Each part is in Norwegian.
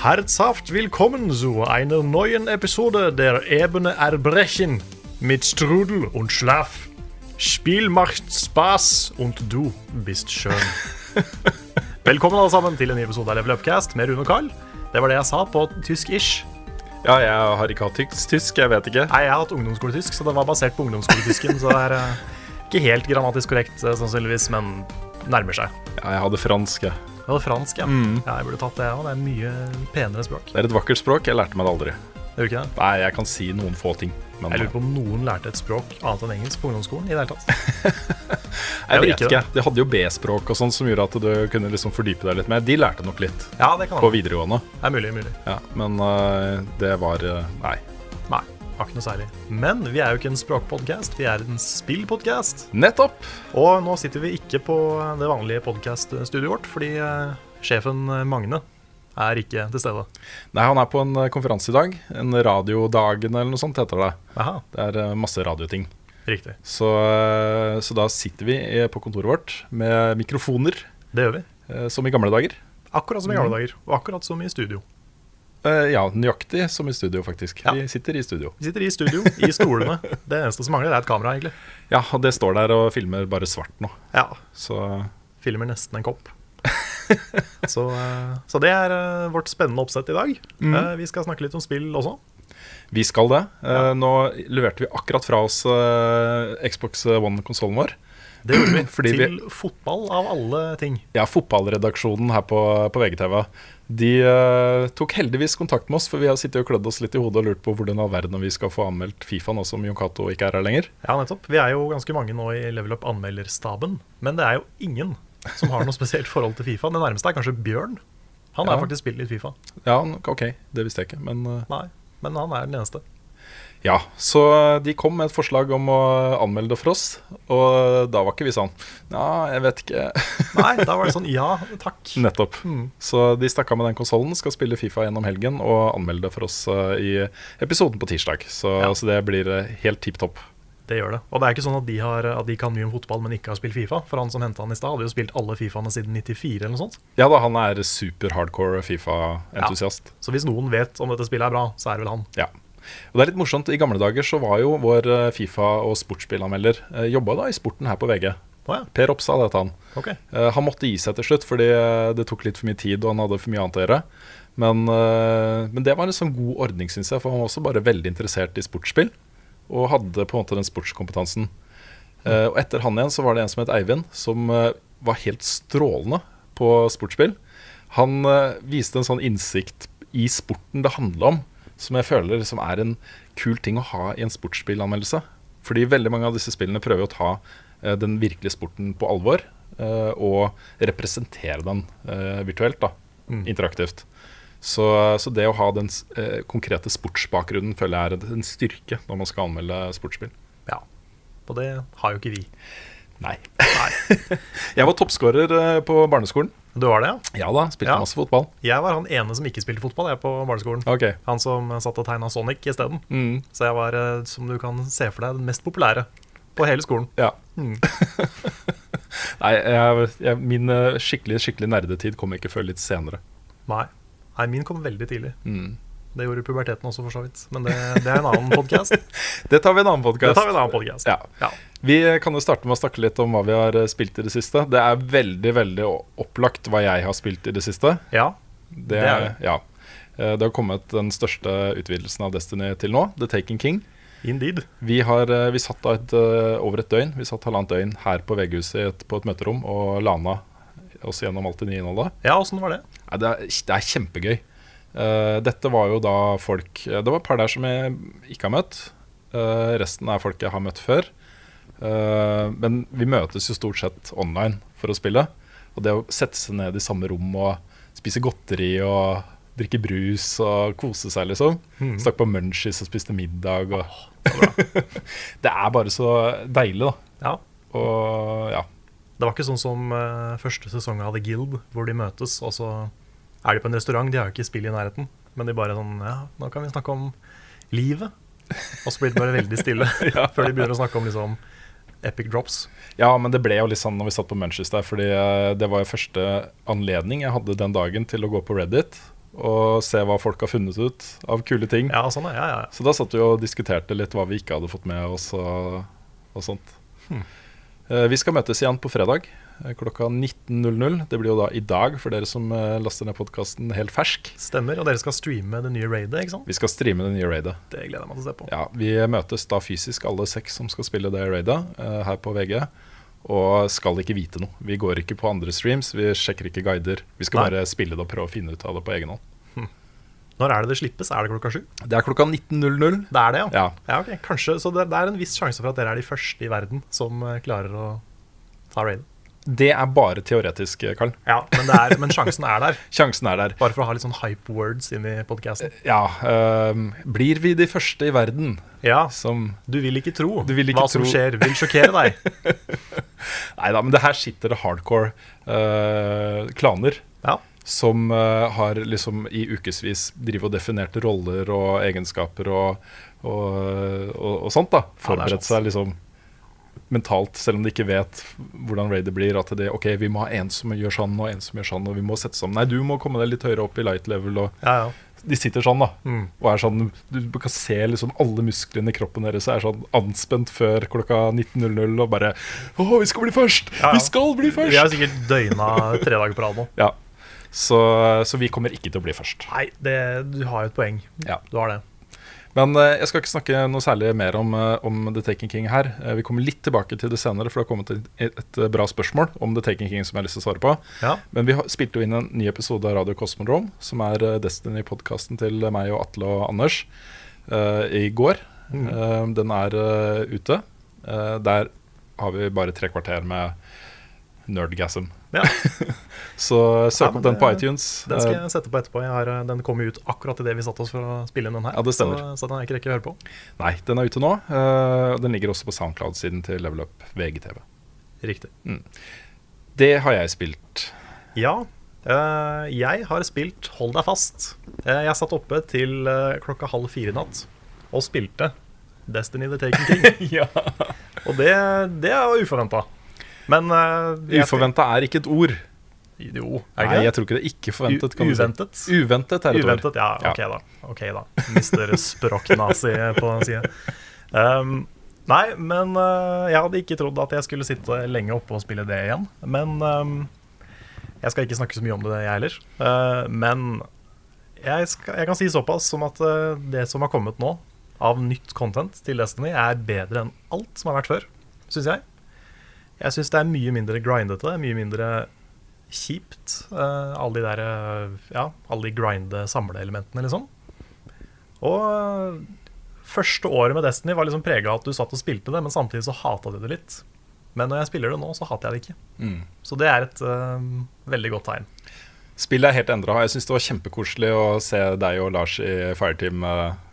Herzhaft willkommen zu einer neuen Episode der Ebene Erbrechen mit Strudel und Schlaf. Spiel macht Spaß und du bist schön. Velkommen alle sammen til en ny episode av Level Upcast med Rune og Carl. Det var det jeg sa på tysk-ish. Ja, jeg har ikke hatt tysk, tysk, jeg vet ikke. Nei, jeg har hatt ungdomsskoletysk, så det var basert på ungdomsskoletysken. så det er eh, ikke helt grammatisk korrekt, eh, sannsynligvis, men nærmer seg. Ja, jeg hadde fransk. jeg. Jeg hadde fransk, ja. ja. Jeg burde tatt det òg. Det er mye penere språk. Det er et vakkert språk. Jeg lærte meg det aldri. Det er jo ikke det? Nei, jeg kan si noen få ting. Men Jeg lurer jeg, på om noen lærte et språk annet enn engelsk på ungdomsskolen. i det hele tatt. jeg gjør vet ikke ikke. De hadde jo B-språk og sånn som gjorde at du kunne liksom fordype deg litt mer. De lærte nok litt Ja, det kan på hende. videregående. Det er mulig. mulig. Ja, men øh, det var øh, Nei. Nei, har ikke noe særlig. Men vi er jo ikke en språkpodkast, vi er en spillpodkast. Nettopp! Og nå sitter vi ikke på det vanlige podkaststudioet vårt, fordi eh, sjefen eh, Magne er ikke til stede. Nei, han er på en øh, konferanse i dag. En Radiodagen eller noe sånt heter det. Aha, Det er øh, masse radioting. riktig. Så, øh, så da sitter vi eh, på kontoret vårt med mikrofoner, Det gjør vi. eh, som i gamle dager. Akkurat som i gamle dager, og akkurat som i studio. Eh, ja, nøyaktig som i studio, faktisk. Ja. Vi sitter i studio. Vi sitter i studio, i stolene. Det eneste som mangler, er et kamera, egentlig. Ja, og det står der og filmer bare svart nå. Ja, Så Filmer nesten en kopp. Så, eh, så det er eh, vårt spennende oppsett i dag. Mm. Eh, Vi skal snakke litt om spill også. vi skal det. Eh, Nå leverte vi akkurat fra oss eh, Xbox One-konsollen vår. Det gjorde vi. Fordi vi- Til fotball, av alle ting. Ja, fotballredaksjonen her på, på VGTV. De eh, tok heldigvis kontakt med oss, for vi har sittet og klødd oss litt i hodet og lurt på hvordan i all verden vi skal få anmeldt Fifa nå som Jon Cato ikke er her lenger. Ja, nettopp. Vi er jo ganske mange nå i Level Up anmelderstaben, men det er jo ingen som har noe spesielt forhold til Fifa. Det nærmeste er kanskje Bjørn. Han har Ja. faktisk spilt litt Fifa. Ja, ok, det visste jeg ikke, men eh, Nei, men han er den eneste. Ja, så de kom med et forslag om å anmelde det for oss, og da var ikke vi sånn Ja, jeg vet ikke. Nei, da var det sånn ja, takk. Nettopp. Mm. Så de stakk av med den konsollen, skal spille Fifa gjennom helgen og anmelde det for oss eh, i episoden på tirsdag. Så, Ja. så det blir eh, helt tipp topp. Det gjør det. Og det er ikke sånn at de, har, at de kan mye om fotball, men ikke har spilt Fifa. For han som henta han i stad, hadde jo spilt alle Fifaene siden 94 eller noe sånt. Ja da, han er super hardcore Fifa-entusiast. Så hvis noen vet om dette spillet er bra, så er det vel han. Ja. Og det er litt morsomt, I gamle dager så var jo vår eh, Fifa- og sportsspillanmelder eh, jobba da i sporten her på VG. Å ja, Per Ropstad het han. ok. Eh, Han måtte gi seg til slutt, fordi eh, det tok litt for mye tid, og han hadde for mye annet å gjøre. Men, eh, men det var en sånn god ordning, syns jeg, for han var også bare veldig interessert i sportsspill. Og hadde på en måte den sportskompetansen. Eh, Og etter han igjen så var det en som het Eivind, som eh, var helt strålende på sportsspill. Han eh, viste en sånn innsikt i sporten det handla om, som jeg føler liksom er en kul ting å ha i en sportsspillanmeldelse. Fordi veldig mange av disse spillene prøver å ta eh, den virkelige sporten på alvor. eh, og representere den eh, virtuelt, da. Interaktivt. Så, så det å ha den s- eh, konkrete sportsbakgrunnen føler jeg er en styrke når man skal anmelde sportsspill. Ja. Og det har jo ikke vi. Nei. Nei. Jeg var toppskårer eh, på barneskolen. Du var det, ja? Ja da, spilte Ja. masse fotball. Jeg var han ene som ikke spilte fotball, jeg, på barneskolen. Ok. Han som satt og tegna Sonic isteden. Mm. Så jeg var, eh, som du kan se for deg, den mest populære på hele skolen. Ja. Mm. Nei, jeg, jeg, min eh, skikkelig skikkelig nerdetid kom ikke før litt senere. Nei. Nei, min kom veldig tidlig. Det gjorde puberteten også, for så vidt. Men det, det er en annen podkast. Det tar vi i en annen Det podkast. tar vi en annen podcast. Ja. Ja. Vi kan jo starte med å snakke litt om hva vi har eh, spilt i det siste. Det er veldig veldig o- opplagt hva jeg har spilt i det siste. ja. Det, er det. Ja. Eh, Det har kommet den største utvidelsen av Destiny til nå, The Taken King. Indeed. Vi, har, eh, vi satt da et, eh, over et døgn, vi satt halvannet døgn her på VG-huset i et- på et møterom og lana oss gjennom alt det nye innholdet. Ja, åssen var det? Nei, det, er, det er kjempegøy. Eh, dette var jo da folk eh, Det var et par der som jeg ikke har møtt. Eh, resten er folk jeg har møtt før. Eh, men vi møtes jo stort sett online for å spille. Og det å sette seg ned i samme rom og spise godteri og drikke brus og kose seg, liksom. Stakk på munchies og spiste middag og Det er bare så deilig, da. Ja. Og ja. Det var ikke sånn som eh, første sesong av The Guild, hvor de møtes, og så er de på en restaurant. De har jo ikke spill i nærheten, men de bare sånn Ja, nå kan vi snakke om livet. Og så blir det bare veldig stille før de begynner å snakke om liksom epic drops. Ja, men det ble jo litt sånn når vi satt på Manchester, fordi eh, det var jo første anledning jeg hadde den dagen til å gå på Reddit og se hva folk har funnet ut av kule ting. Ja, sånn er ja, ja. Så da satt vi og diskuterte litt hva vi ikke hadde fått med oss og, og sånt. Eh, Vi skal møtes igjen på fredag eh, klokka 19.00. Det blir jo da i dag for dere som eh, laster ned podkasten helt fersk. Stemmer. Og dere skal streame det nye raidet, ikke sant? Vi skal streame det nye raidet. Det gleder jeg meg til å se på. Ja, Vi møtes da fysisk, alle seks som skal spille det raidet eh, her på VG. Og skal ikke vite noe. Vi går ikke på andre streams, vi sjekker ikke guider. Vi skal Nei. bare spille det og prøve å finne ut av det på egen hånd. Når er det det slippes? Er det klokka sju? Det er klokka 19.00. Det er det, ja. Ja. ja ok. Kanskje, Så det, det er en viss sjanse for at dere er de første i verden som eh, klarer å ta raidet. Det er bare teoretisk, eh, Karl. Ja, men, det er, men sjansen er der. Sjansen er der. Bare for å ha litt sånn hype words inn i podkasten. Ja, ehm, blir vi de første i verden Ja, som du vil ikke tro Du vil ikke hva som tro. skjer. Vil sjokkere deg. Nei da, men det her sitter det hardcore eh, klaner Ja, som eh, har liksom i ukevis drivet og definert roller og egenskaper og, og, og, og sånt. da Forberedt sant. seg liksom mentalt, selv om de ikke vet hvordan raidet blir. At det, ok, vi må ha en som gjør sånn, og en som gjør sånn, og vi må sette sammen. Nei, du må komme deg litt høyere opp i light level. Og ja, ja. de sitter sånn, da. Mm. Og er sånn, du kan se liksom alle musklene i kroppen deres er sånn anspent før klokka 19.00 og bare Å, vi skal bli først! Ja, ja. Vi skal bli Vi har først! sikkert døgna tre dager på rad nå. Ja. Så, så vi kommer ikke til å bli først. Nei, det, du har jo et poeng. Ja. Du har det. Men eh, jeg skal ikke snakke noe særlig mer om, eh, om The Taken King her. Eh, vi kommer litt tilbake til det senere, for det har kommet et, et eh, bra spørsmål om The Taken King som jeg har lyst til å svare på. Ja. Men vi har, spilte jo inn en ny episode av Radio Cosmodrome, som er eh, Destiny-podkasten til meg og Atle og Anders, eh, i går. Mm. Eh, den er eh, ute. Eh, der har vi bare tre kvarter med nerdgasm. ja. Så eh, søk Ja, men opp den på det- iTunes. Den skal Eh, jeg sette på etterpå. Jeg har, eh, den kom jo ut akkurat idet vi satte oss for å spille inn den her. Ja, det stemmer. Så, så den har jeg ikke rekke å høre på. nei, den er ute nå. eh, og den ligger også på Soundcloud-siden til Level Up VGTV. Riktig. Det har jeg spilt. Ja, eh, jeg har spilt Hold deg fast. Eh, jeg satt oppe til eh, klokka halv fire i natt og spilte Destiny the Taken King. Og det, det er jo uforventa. Men eh, jeg- Uforventa er ikke et ord. Jo, er det Nei, jeg ikke det? tror ikke det. Ikke forventet. U- kan du si. uventet? Uventet er et Uventet, ja. Ja. Ok, da. Ok da Mister språknazi på den sida. Um, nei, men uh, jeg hadde ikke trodd at jeg skulle sitte lenge oppe og spille det igjen. Men um, jeg skal ikke snakke så mye om det, jeg heller. Uh, men jeg, skal, jeg kan si såpass som at uh, det som har kommet nå av nytt content til Destiny, er bedre enn alt som har vært før, syns jeg. Jeg syns det er mye mindre grindete, mye mindre kjipt. eh, alle de der eh, Ja, alle de grinde samleelementene, liksom. Og eh, første året med Destiny var liksom prega av at du satt og spilte det, men samtidig så hata du det litt. Men når jeg spiller det nå, så hater jeg det ikke. Mm. Så det er et eh, veldig godt tegn. ord. Spillet er helt endra. Jeg syns det var kjempekoselig å se deg og Lars i Fireteam. eh.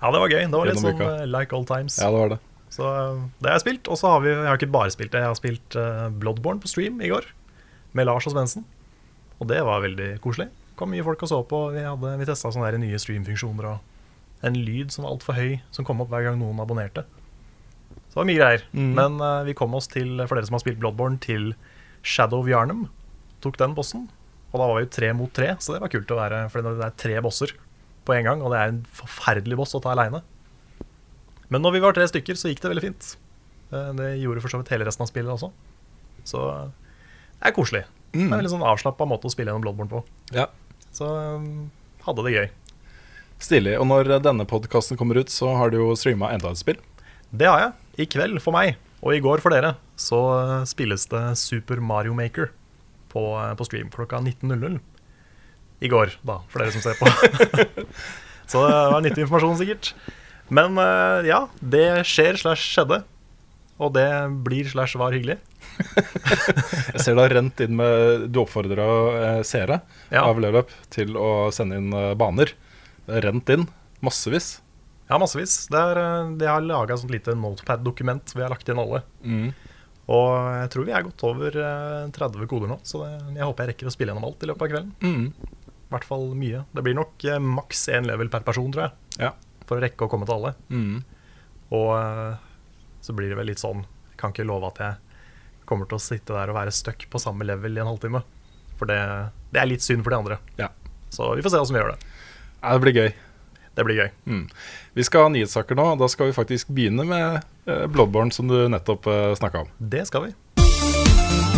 Ja, det var gøy. Det var litt Gjennom sånn uka. eh, like old times. Ja, det var det. Så eh, det har jeg spilt. Og så har vi Jeg har ikke bare spilt det, jeg har spilt eh, Bloodborne på stream i går. Med Lars og Svendsen. Og det var veldig koselig. Det kom mye folk og så på. Vi, hadde- vi testa sånne der nye streamfunksjoner og en lyd som var altfor høy, som kom opp hver gang noen abonnerte. Så det var mye greier. Men eh, vi kom oss til, for dere som har spilt Bloodborne, til Shadow of Yarnum. Tok den bossen. Og da var vi jo tre mot tre, så det var kult å være, for det er tre bosser. på en gang, og det er en forferdelig boss å ta aleine. Men når vi var tre stykker, så gikk det veldig fint. Eh, Det gjorde for så vidt hele resten av spillet også. Så eh, det er koselig. Det er en veldig sånn avslappa måte å spille gjennom Bloodborne på. Ja. Så eh, hadde det gøy. Stilig. Og når denne podkasten kommer ut, så har du jo streama enda et spill. Det har jeg. I kveld for meg, og i går for dere, så eh, spilles det Super Mario Maker på, eh, på stream klokka 19.00. I går, da, for dere som ser på. så eh, det var nyttig informasjon, sikkert. Men eh, ja, det skjer slash skjedde. Og det blir slash var hyggelig. Jeg ser det har rent inn med Du oppfordra eh, seere Ja. av Level Up til å sende inn eh, baner. Det har rent inn massevis. Ja, massevis. Det er, eh, de har laga et sånt lite notepad-dokument vi har lagt inn alle. Mm. Og jeg tror vi er godt over eh, 30 koder nå, så det, jeg håper jeg rekker å spille gjennom alt i løpet av kvelden. Mm. I hvert fall mye. Det blir nok eh, maks én level per person, tror jeg. Ja. For å rekke å komme til alle. Mm. Og eh, så blir det vel litt sånn Jeg kan ikke love at jeg kommer til å sitte der og være stuck på samme level i en halvtime. For det, det er litt synd for de andre. Ja. Så vi får se åssen vi gjør det. Ja, det blir gøy. Det blir gøy. Vi skal ha nyhetssaker nå. og Da skal vi faktisk begynne med eh, Bloodborne, som du nettopp eh, snakka om. Det skal vi.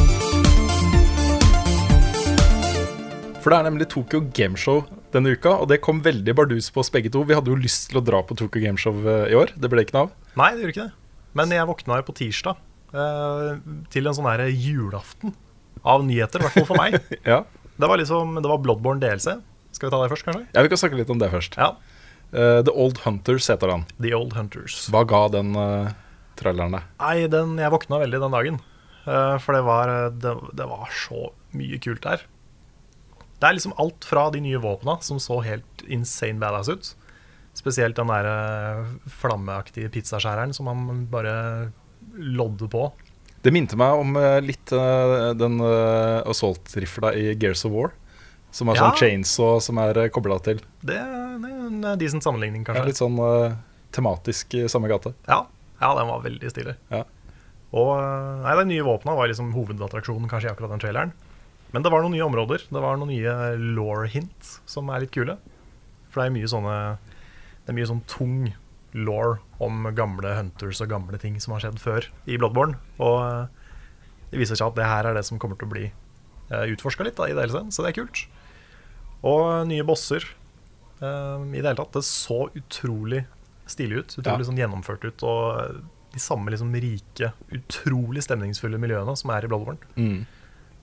For det er nemlig Tokyo Gameshow denne uka, og det kom veldig bardus på oss begge to. Vi hadde jo lyst til å dra på Tokyo Gameshow eh, i år. Det ble ikke noe av. Nei, det gjorde ikke det. Men jeg våkna jo på tirsdag eh, til en sånn her julaften av nyheter, i hvert fall for meg. Ja. Det var liksom, det var Bloodborne DLC. Skal vi ta det først, kanskje? ja, vi kan snakke litt om det først. Ja. Eh, The Old Hunters heter den. The Old Hunters. Hva ga den eh, traileren deg? Nei, den, jeg våkna veldig den dagen. Eh, for det var, det, det var så mye kult der. Det er liksom alt fra de nye våpna, som så helt insane badass ut. Spesielt den der eh, flammeaktige pizzaskjæreren som han bare lodder på. Det minte meg om eh, litt eh, den eh, assault-rifla i Gears of War. Som er Ja. sånn chainsaw som er uh, kobla til. Det, det er en decent sammenligning, Ja, kanskje. litt sånn eh, tematisk i samme gate. Ja, ja den var veldig stilig. Ja. Og eh, nei, De nye våpna var liksom hovedattraksjonen kanskje i akkurat den traileren. Men det var noen nye områder. Det var noen nye law hint som er litt kule. For det er mye sånne Det er mye sånn tung law om gamle hunters og gamle ting som har skjedd før i Bloodborne. Og eh, det viser seg at det her er det som kommer til å bli utforska litt da, i DLC-en, så det er kult. Og nye bosser. eh, I det hele tatt. Det så utrolig stilig ut. Utrolig Ja. sånn gjennomført ut. Og eh, de samme liksom rike, utrolig stemningsfulle miljøene som er i Bloodborne.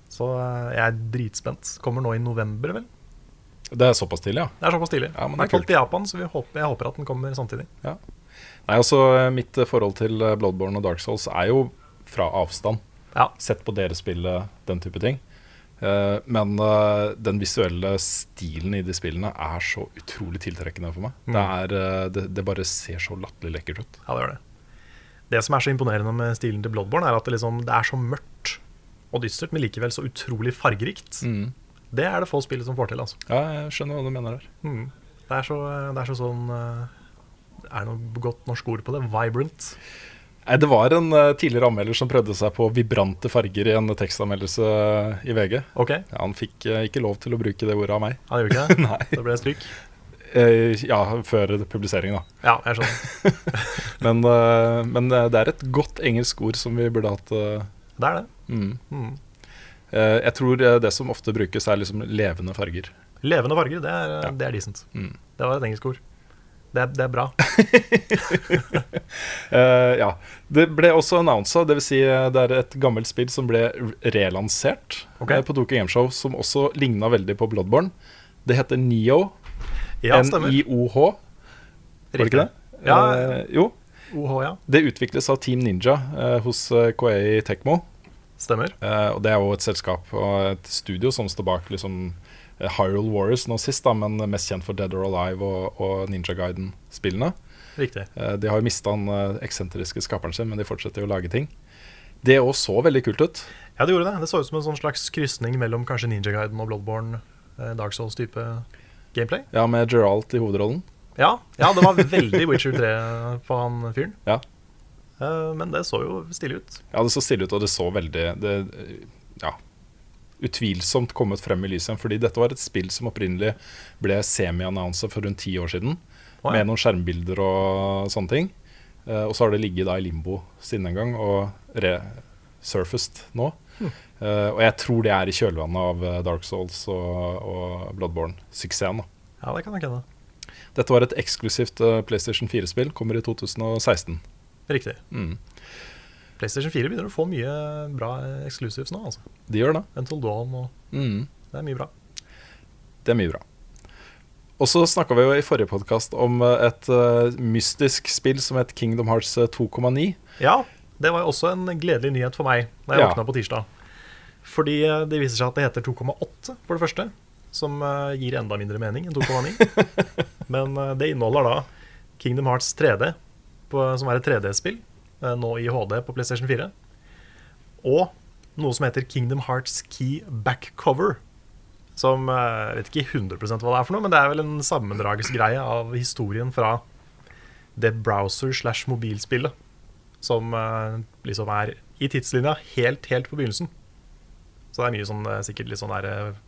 Så eh, jeg er dritspent. Kommer nå i november, vel? Det er såpass tidlig, ja. Det er såpass tidlig. Ja, men det det er er kaldt i Japan, så vi håper, jeg håper at den kommer samtidig. Nei, altså eh, Mitt eh, forhold til eh, Bloodborne og Dark Souls er jo fra avstand. Ja. Sett på dere spille den type ting. Eh, men eh, den visuelle stilen i de spillene er så utrolig tiltrekkende for meg. Det, er, eh, det, det bare ser så latterlig lekkert ut. Ja, det gjør det. Det som er så imponerende med stilen til Bloodborne, er at det, liksom, det er så mørkt og dystert, men likevel så utrolig fargerikt. Mm. Det er det få spill som får til, altså. Mm. Ja, jeg skjønner hva du mener der. Det er så, det er så sånn eh, Er det noe godt norsk ord på det? Vibrant. Nei, Det var en eh, tidligere anmelder som prøvde seg på vibrante farger i en tekstanmeldelse eh, i VG. OK, Ja, han fikk eh, ikke lov til å bruke det ordet av meg. han gjorde ikke det? Nei. Det ble stryk? Eh, ja, før publiseringen, da. Ja, jeg skjønner. Men, eh, men eh, det er et godt engelsk ord som vi burde hatt. eh, Det er det. mm. Mm. Eh, jeg tror eh, det som ofte brukes, er liksom levende farger. Levende farger, det er, Ja. det er decent. Mm. Det var et engelsk ord. Det er, det er bra. Eh, ja. Det ble også annonsa, dvs. Si eh, det er et gammelt spill som ble r- relansert Ok. eh, på Tokyo Gameshow, som også ligna veldig på Bloodborne. Det heter Nio. Ja, stemmer. N-I-O-H. Var det ikke det? Ja, Eh, jo. OH, ja. Det utvikles av Team Ninja eh, hos eh, Koei Tekmo. Stemmer. Eh, og Det er jo et selskap og et studio som står bak liksom, eh, Hyrule Warriors nå sist, da, men mest kjent for Dead or Alive og, og Ninja Guiden-spillene. Riktig. Eh, De har jo mista den eh, eksentriske skaperen sin, men de fortsetter jo å lage ting. Det òg så veldig kult ut. Ja, det gjorde det. Det så ut som en sånn slags krysning mellom kanskje Ninja Guiden og Bloodborne, eh, Dark Souls-type gameplay. Ja, Med Geralt i hovedrollen. Ja, ja, det var veldig Witcher 3 på han fyren. Ja. Eh, Men det så jo stilig ut. ja, det så stille ut, og det så veldig det, eh, Ja. utvilsomt kommet frem i lyset igjen. Fordi dette var et spill som opprinnelig ble semi-annonsa for rundt ti år siden. Å, ja. Med noen skjermbilder og sånne ting. Eh, og så har det ligget da i limbo siden den gang, og resurfaced nå. Hm. Eh, og jeg tror det er i kjølvannet av eh, Dark Souls og, og Bloodborne-suksessen. da. Ja, det kan jeg kjenne. Dette var et eksklusivt eh, PlayStation 4-spill, kommer i 2016. Riktig. Mm. PlayStation 4 begynner å få mye bra exclusives nå. altså. De gjør det. Until Dawn og Mm. Det er mye bra. Det er mye bra. Og så snakka vi jo i forrige podkast om eh, et eh, mystisk spill som het Kingdom Hearts eh, 2,9. Ja, det var jo også en gledelig nyhet for meg da jeg Ja. våkna på tirsdag. Fordi eh, det viser seg at det heter 2,8 for det første, som eh, gir enda mindre mening enn 2,9. Men eh, det inneholder da Kingdom Hearts 3D, på, som er et 3D-spill, eh, nå i HD på PlayStation 4. Og noe som heter Kingdom Hearts Key Backcover. Som eh, jeg vet ikke 100 hva det er for noe, men det er vel en sammendragsgreie av historien fra det browser slash mobilspillet som eh, liksom er i tidslinja helt, helt på begynnelsen. Så det er mye sånn, eh, sikkert litt sånn der eh,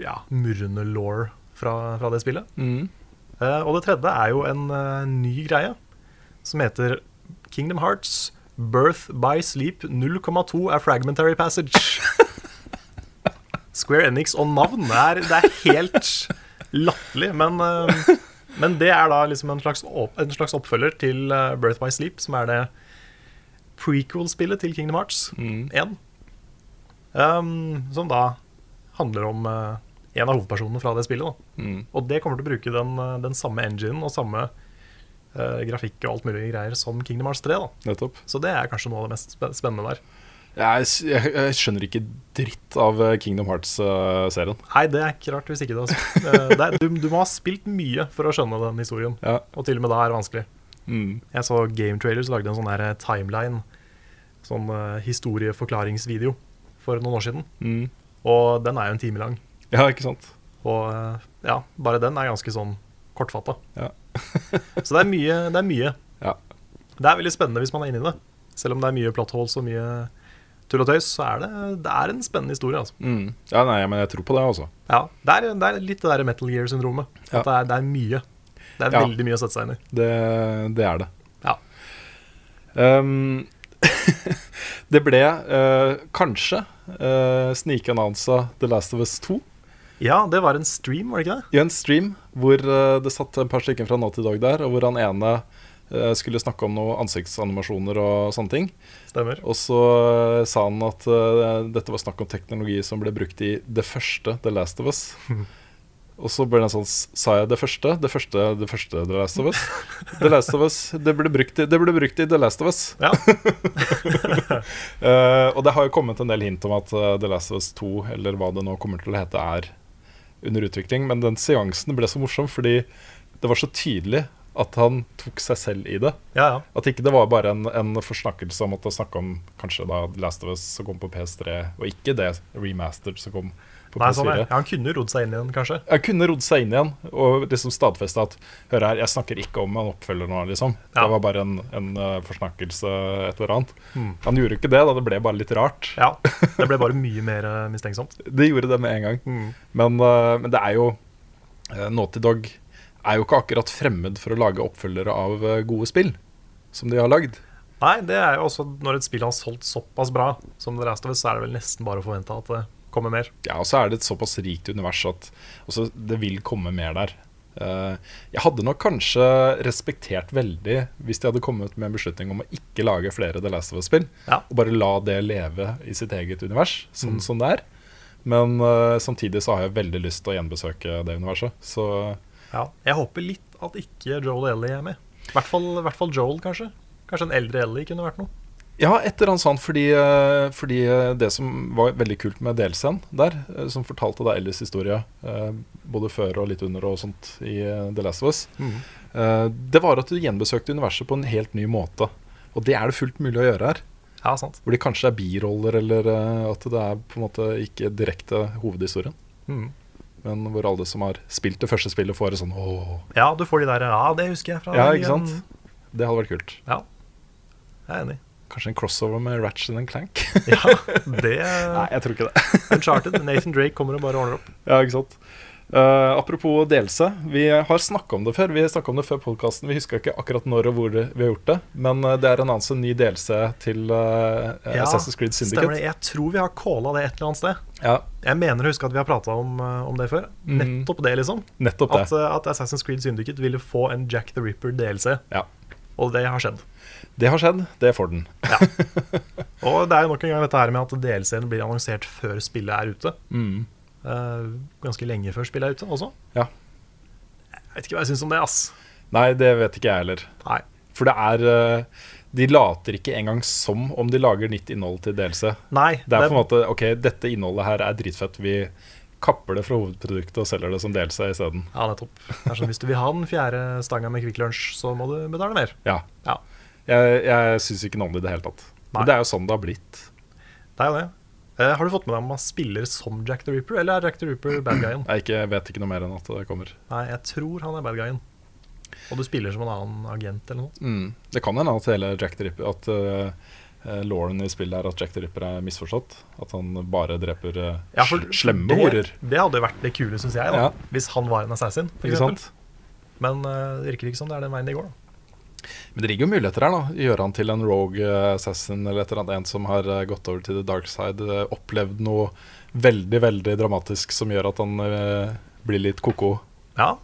ja, murrende law fra, fra det spillet. Mm, Eh, og det tredje er jo en eh, ny greie som heter Kingdom Hearts Birth by Sleep 0,2 er Fragmentary Passage. Square Enix og navn det er, det er helt latterlig, men, eh, men det er da liksom en slags, opp, en slags oppfølger til eh, Birth by Sleep, som er det prequel-spillet til Kingdom Hearts mm, 1. Um, som da handler om eh, en av hovedpersonene fra det spillet. Da. mm. Og det kommer til å bruke den, eh, den samme enginen og samme eh, grafikk og alt mulig greier som Kingdom Hearts 3. Da. Nettopp. Så det er kanskje noe av det mest spe- spennende der. Jeg, s- jeg, jeg skjønner ikke dritt av eh, Kingdom eh, Hearts-serien. Nei, det er ikke rart hvis ikke det. Altså. Eh, det er, du, du må ha spilt mye for å skjønne den historien. ja. Og til og med da er det vanskelig. mm. Jeg så Game Trailers lagde en sånn der eh, timeline, sånn eh, historieforklaringsvideo, for noen år siden. Mm. Og den er jo en time lang. ja, ikke sant? Og eh, ja, bare den er ganske sånn kortfatta. Ja. Så det er mye. Det er mye. Ja. Det er veldig spennende hvis man er inni det. Selv om det er mye plot holes og mye tull og tøys, så er det, det er en spennende historie. altså. Mm. ja, nei, men jeg tror på det, altså. Ja, Det er, det er litt det der Metal Gear-syndromet. Ja. At det er, det er mye. Det er Ja. veldig mye å sette seg inn i. Det, det er det. Ja. Ehm, det ble eh, kanskje uh, snikannonsa The Last of Us 2 Ja, det var en stream, var det ikke det? i en stream hvor eh, det satt et par stykker fra Natt i dag der, og hvor han ene eh, skulle snakke om noen ansiktsanimasjoner og sånne ting. Stemmer. Og så eh, sa han at eh, dette var snakk om teknologi som ble brukt i det første The Last of Us. Og så ble det en sånn s- Sa jeg det første? Det første, det første The Last of Us? The Last of Us. Det ble brukt i, det ble brukt i The Last of Us. Ja. Eh, og det har jo kommet en del hint om at eh, The Last of Us 2, eller hva det nå kommer til å hete, er under utvikling. Men den seansen ble så morsom fordi det var så tydelig at han tok seg selv i det. ja, ja. At ikke det var bare en, en forsnakkelse om at det snakka om kanskje da The Last of Us som kom på PS3, og ikke det remastered som kom på Nei, sånn PS4. er. det. Ja, han kunne jo rodd seg inn i den, kanskje. Jeg kunne rodd seg inn igjen og liksom stadfesta at Hør her, jeg snakker ikke om en oppfølger nå, liksom. Ja. Det var bare en, en eh, forsnakkelse, et eller annet. Han gjorde jo ikke det, da. Det ble bare litt rart. Hmm. Ja, Det ble bare mye mer eh, mistenksomt. Hmm. Det gjorde det med en gang. Men, eh, men det er jo uh, Naughty Dog er jo ikke akkurat fremmed for å lage oppfølgere av eh, gode spill, som de har lagd. Nei, det er jo også når et spill har solgt såpass bra som The Last of Us, så er det vel nesten bare å forvente at det kommer mer. Ja, og så er det et såpass rikt univers at altså, det vil komme mer der. Eh, jeg hadde nok kanskje respektert veldig hvis de hadde kommet med en beslutning om å ikke lage flere The Last of Us-spill, Ja. og bare la det leve i sitt eget univers, sånn som det er. Men eh, samtidig så har jeg veldig lyst til å gjenbesøke det universet. Så Ja. Jeg håper litt at ikke Joel og Ellie er med. I hvert fall, i hvert fall Joel, kanskje. Kanskje en eldre Ellie kunne vært noe. Ja, etter han sa han, fordi, eh, fordi eh, det som var veldig kult med delscenen der, eh, som fortalte da Ellis historie, eh, både før og litt under og sånt i eh, The Last of Us, eh, det var at du gjenbesøkte universet på en helt ny måte. Og det er det fullt mulig å gjøre her. Ja, sant. Hvor det kanskje er biroller, eller eh, at det er på en måte ikke direkte hovedhistorien. Mhm. Men hvor alle som har spilt det første spillet, får et sånn åh. Ja, du får de der Ja, det husker jeg fra Ja, den ikke igjen». sant? Det hadde vært kult. Ja, jeg er enig. Kanskje en crossover med Ratchet and Clank? Ja, det Nei, jeg tror ikke det. Uncharted. Nathan Drake kommer og bare ordner opp. Ja, ikke sant? Eh, apropos delelse, vi har snakka om det før. Vi snakket om det før podcasten. Vi huska ikke akkurat når og hvor det- vi har gjort det. Men eh, det er en annen ny delelse til eh, Ja, Assassin's Creed Stemmer det. Syndicate. Jeg tror vi har calla det et eller annet sted. Ja, Jeg mener å huske at vi har prata om, eh, om det før. Mm. Nettopp det, liksom. nettopp det. At, eh, at Assassin's Creed Syndicate ville få en Jack the Ripper-DLC. Ja. Og det har skjedd. Det har skjedd, det får den. Og det er jo nok en gang dette her med at DLC-en blir annonsert før spillet er ute. Mm. Eh, ganske lenge før spillet er ute også. Ja. Jeg vet ikke hva jeg syns om det, ass. Nei, det vet ikke jeg heller. Nei. For det er eh, De later ikke engang som om de lager nytt innhold til delelse. Nei Det er på en måte OK, dette innholdet her er dritfett. Vi kapper det fra hovedproduktet og selger det som delelse isteden. Ja, nettopp. Det er sånn, hvis du vil ha den fjerde stanga med Kvikk Lunsj, så må du betale mer. Ja. Ja. Jeg, jeg syns ikke noe om det i det hele tatt. Nei. Men det er jo sånn det har blitt. Det er jo det. Eh, har du fått med deg om man spiller som Jack the Ripper, eller er Jack the Ripper bad guyen? Jeg ikke, vet ikke noe mer enn at det kommer. Nei, jeg tror han er bad guyen. Og du spiller som en annen agent eller noe. Mm. Det kan hende at hele Jack the Ripper At uh, Lauren i spillet er at Jack the Ripper er misforstått. At han bare dreper eh, Ja, for sl- slemme det, horer. Det hadde jo vært det kule, syns jeg, da, Ja. hvis han var en assassin. For Ikke eksempel. sant? Men eh, det virker ikke som det er den veien det går. Da. Men det ligger jo muligheter her, da. Gjøre han til en rogue eh, assassin eller et eller annet. En som har eh, gått over til the dark side, eh, opplevd noe veldig, veldig dramatisk som gjør at han eh, blir litt ko-ko. Ja,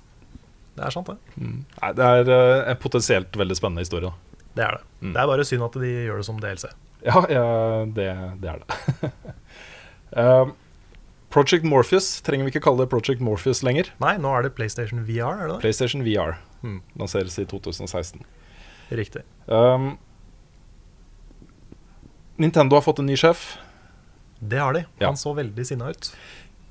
det er sant, det. Nei, det er eh, en potensielt veldig spennende historie, da. Det er det. Mm. Det er bare synd at de gjør det som DLC. Ja, ja det, det er det. Eh, Project Morpheus trenger vi ikke kalle det Project Morpheus lenger. Nei, nå er det PlayStation VR, er det det? PlayStation Hmm, VR Mm. lanseres i 2016. Riktig. Um, Nintendo har fått en ny sjef. Det har de. Ja. Han så veldig sinna ut.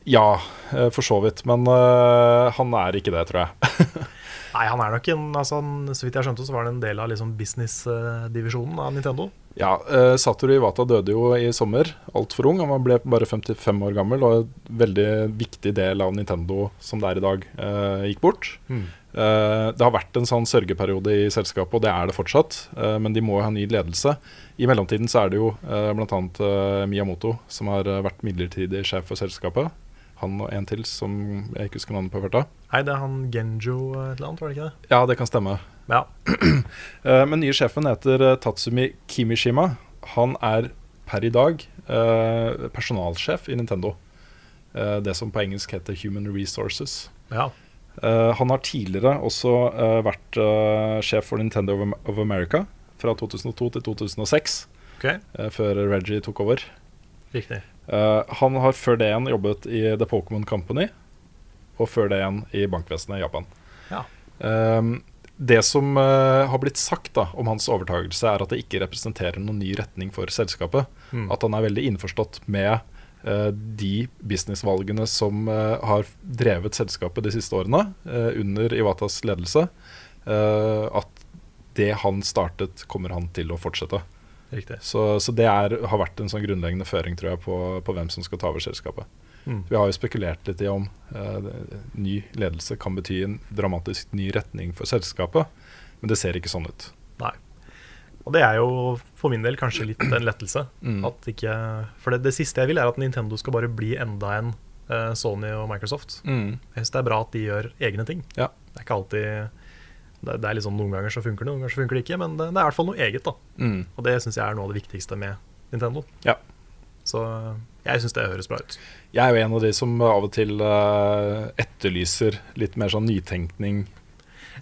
Ja, eh, for så vidt. Men eh, han er ikke det, tror jeg. Nei, han er nok en altså, han, Så vidt jeg skjønte, så var han en del av liksom, business-divisjonen av Nintendo. Ja, eh, Satoru Iwata døde jo i sommer, altfor ung. Han ble bare 55 år gammel, og en veldig viktig del av Nintendo som det er i dag, eh, gikk bort. Eh, det har vært en sånn sørgeperiode i selskapet, og det er det fortsatt. eh, men de må jo ha ny ledelse. I mellomtiden så er det jo uh, bl.a. Uh, Miyamoto, som har eh, vært midlertidig sjef for selskapet. Han og en til som jeg ikke husker navnet på. i farta. Nei, det er han Genjo eh, et eller annet, var det ikke det? Ja, det kan stemme. Ja. Eh, Men nye sjefen heter eh, Tatsumi Kimishima. Han er per i dag eh, personalsjef i Nintendo. Eh, det som på engelsk heter Human Resources. ja. Eh, han har tidligere også eh, vært eh, sjef for Nintendo of Am- of America fra 2002 til 2006, OK, eh, før Reggie tok over. riktig. Eh, han har før det igjen jobbet i The Pokémon Company, og før det igjen i bankvesenet i Japan. Ja. Ehm, det som eh, har blitt sagt da, om hans overtakelse, er at det ikke representerer noen ny retning for selskapet. Mm. At han er veldig innforstått med eh, de businessvalgene som eh, har drevet selskapet de siste årene, eh, under Iwatas ledelse. eh, at det han startet, kommer han til å fortsette. Riktig. Så, så det er, har vært en sånn grunnleggende føring tror jeg, på, på hvem som skal ta over selskapet. Mm. Vi har jo spekulert litt i om eh, det- ny ledelse kan bety en dramatisk ny retning for selskapet, men det ser ikke sånn ut. Nei. Og det er jo for min del kanskje litt en lettelse. Mm. At ikke, for det, det siste jeg vil, er at Nintendo skal bare bli enda en eh, Sony og Microsoft. Jeg syns det er bra at de gjør egne ting. Ja. Det er ikke alltid det, det er liksom Noen ganger så funker det, noen ganger så funker det ikke. Men det, det er i hvert fall noe eget, da. Og det syns jeg er noe av det viktigste med Nintendo. Ja. Så jeg syns det høres bra ut. Jeg er jo en av de som av og til eh, etterlyser litt mer sånn nytenkning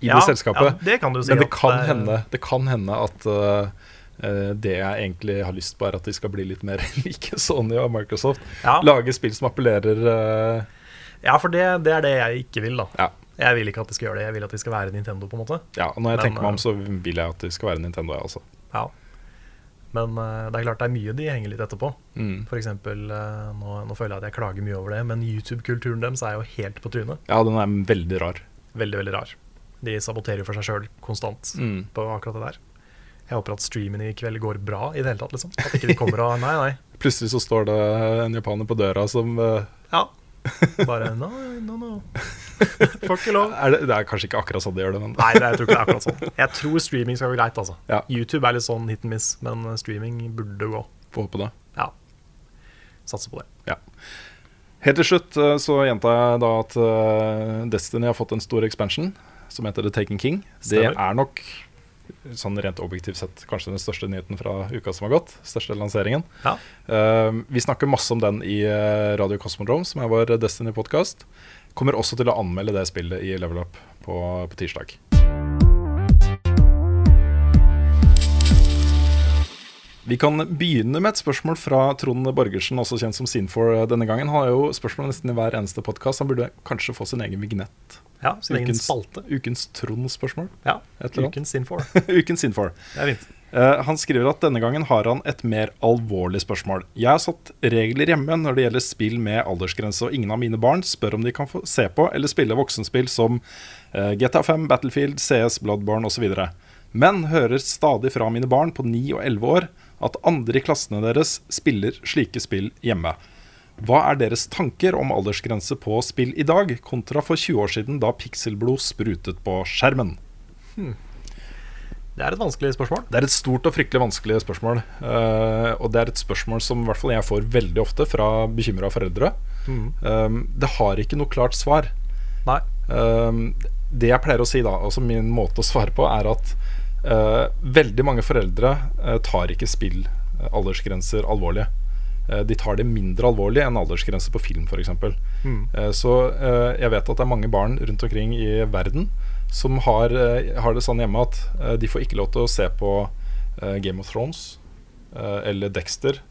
i Ja, det selskapet. Ja, det kan du si. Men det at kan, er- eh, hende, det kan hende at eh, eh, det jeg egentlig har lyst på, er at de skal bli litt mer like Sony og Microsoft. Ja. Lage spill som appellerer eh, Ja, for det, det er det jeg ikke vil, da. Ja. Jeg vil ikke at de skal gjøre det. Jeg vil at de skal være Nintendo, på en måte. Ja, og når jeg Men, tenker meg om, så vil jeg at det skal være Nintendo, jeg også. Ja. Men eh, det er klart det er mye de henger litt etterpå. Mm. For eksempel, eh, nå, nå føler jeg at jeg klager mye over det, men YouTube-kulturen deres er jo helt på trynet. Ja, den er veldig rar. Veldig, veldig rar. De saboterer jo for seg sjøl konstant Mm. på akkurat det der. Jeg håper at streamen i kveld går bra i det hele tatt, liksom. At ikke de kommer og Nei, nei. Plutselig så står det en japaner på døra som eh, Ja. Bare no, no, no. Får ikke lov. Er det, det er kanskje ikke akkurat sånn de gjør det, men Nei, det, jeg tror ikke det er akkurat sånn. Jeg tror streaming skal gå greit, altså. Ja. YouTube er litt sånn hit and miss, men streaming burde gå. får håpe det. Ja. Satser på det. Ja. Helt til slutt eh, så gjentar jeg da at eh, Destiny har fått en stor expansion som heter The Taken King. Det Stemmer. er nok sånn rent objektivt sett kanskje den største nyheten fra uka som har gått. Største lanseringen. Ja. Eh, vi snakker masse om den i eh, Radio Cosmodrome, som er vår Destiny-podkast. Kommer også til å anmelde det spillet i Level Up på, på tirsdag. Vi kan begynne med et spørsmål fra Trond Borgersen, også kjent som Sinfor eh, denne gangen. Han har jo spørsmål nesten i hver eneste podkast. Han burde kanskje få sin egen vignett. ja sin egen spalte. ukens Trond-spørsår. Ja. Et eller annet. Ukens Sinfor. ukens Sinfor. Det er fint. Eh, Han skriver at denne gangen har han et mer alvorlig spørsmål. Jeg har satt regler hjemme når det gjelder spill med aldersgrense, og ingen av mine barn spør om de kan få se på eller spille voksenspill som eh, GTA 5, Battlefield, CS, Bloodborne osv. Men hører stadig fra mine barn på 9 og 11 år at andre i klassene deres spiller slike spill hjemme. Hva er deres tanker om aldersgrense på spill i dag, kontra for 20 år siden da pikselblod sprutet på skjermen? Det er et vanskelig spørsmål. Det er et stort og fryktelig vanskelig spørsmål. eh, og det er et spørsmål som i hvert fall jeg får veldig ofte fra bekymra foreldre. Um, det har ikke noe klart svar. Nei. Um, det jeg pleier å si da, altså min måte å svare på, er at eh, veldig mange foreldre eh, tar ikke spill eh, aldersgrenser alvorlig. Eh, de tar det mindre alvorlig enn aldersgrenser på film, f.eks. Mm. Eh, så eh, jeg vet at det er mange barn rundt omkring i verden som har, eh, har det sånn hjemme at eh, de får ikke lov til å se på eh, Game of Thrones eh, eller Dexter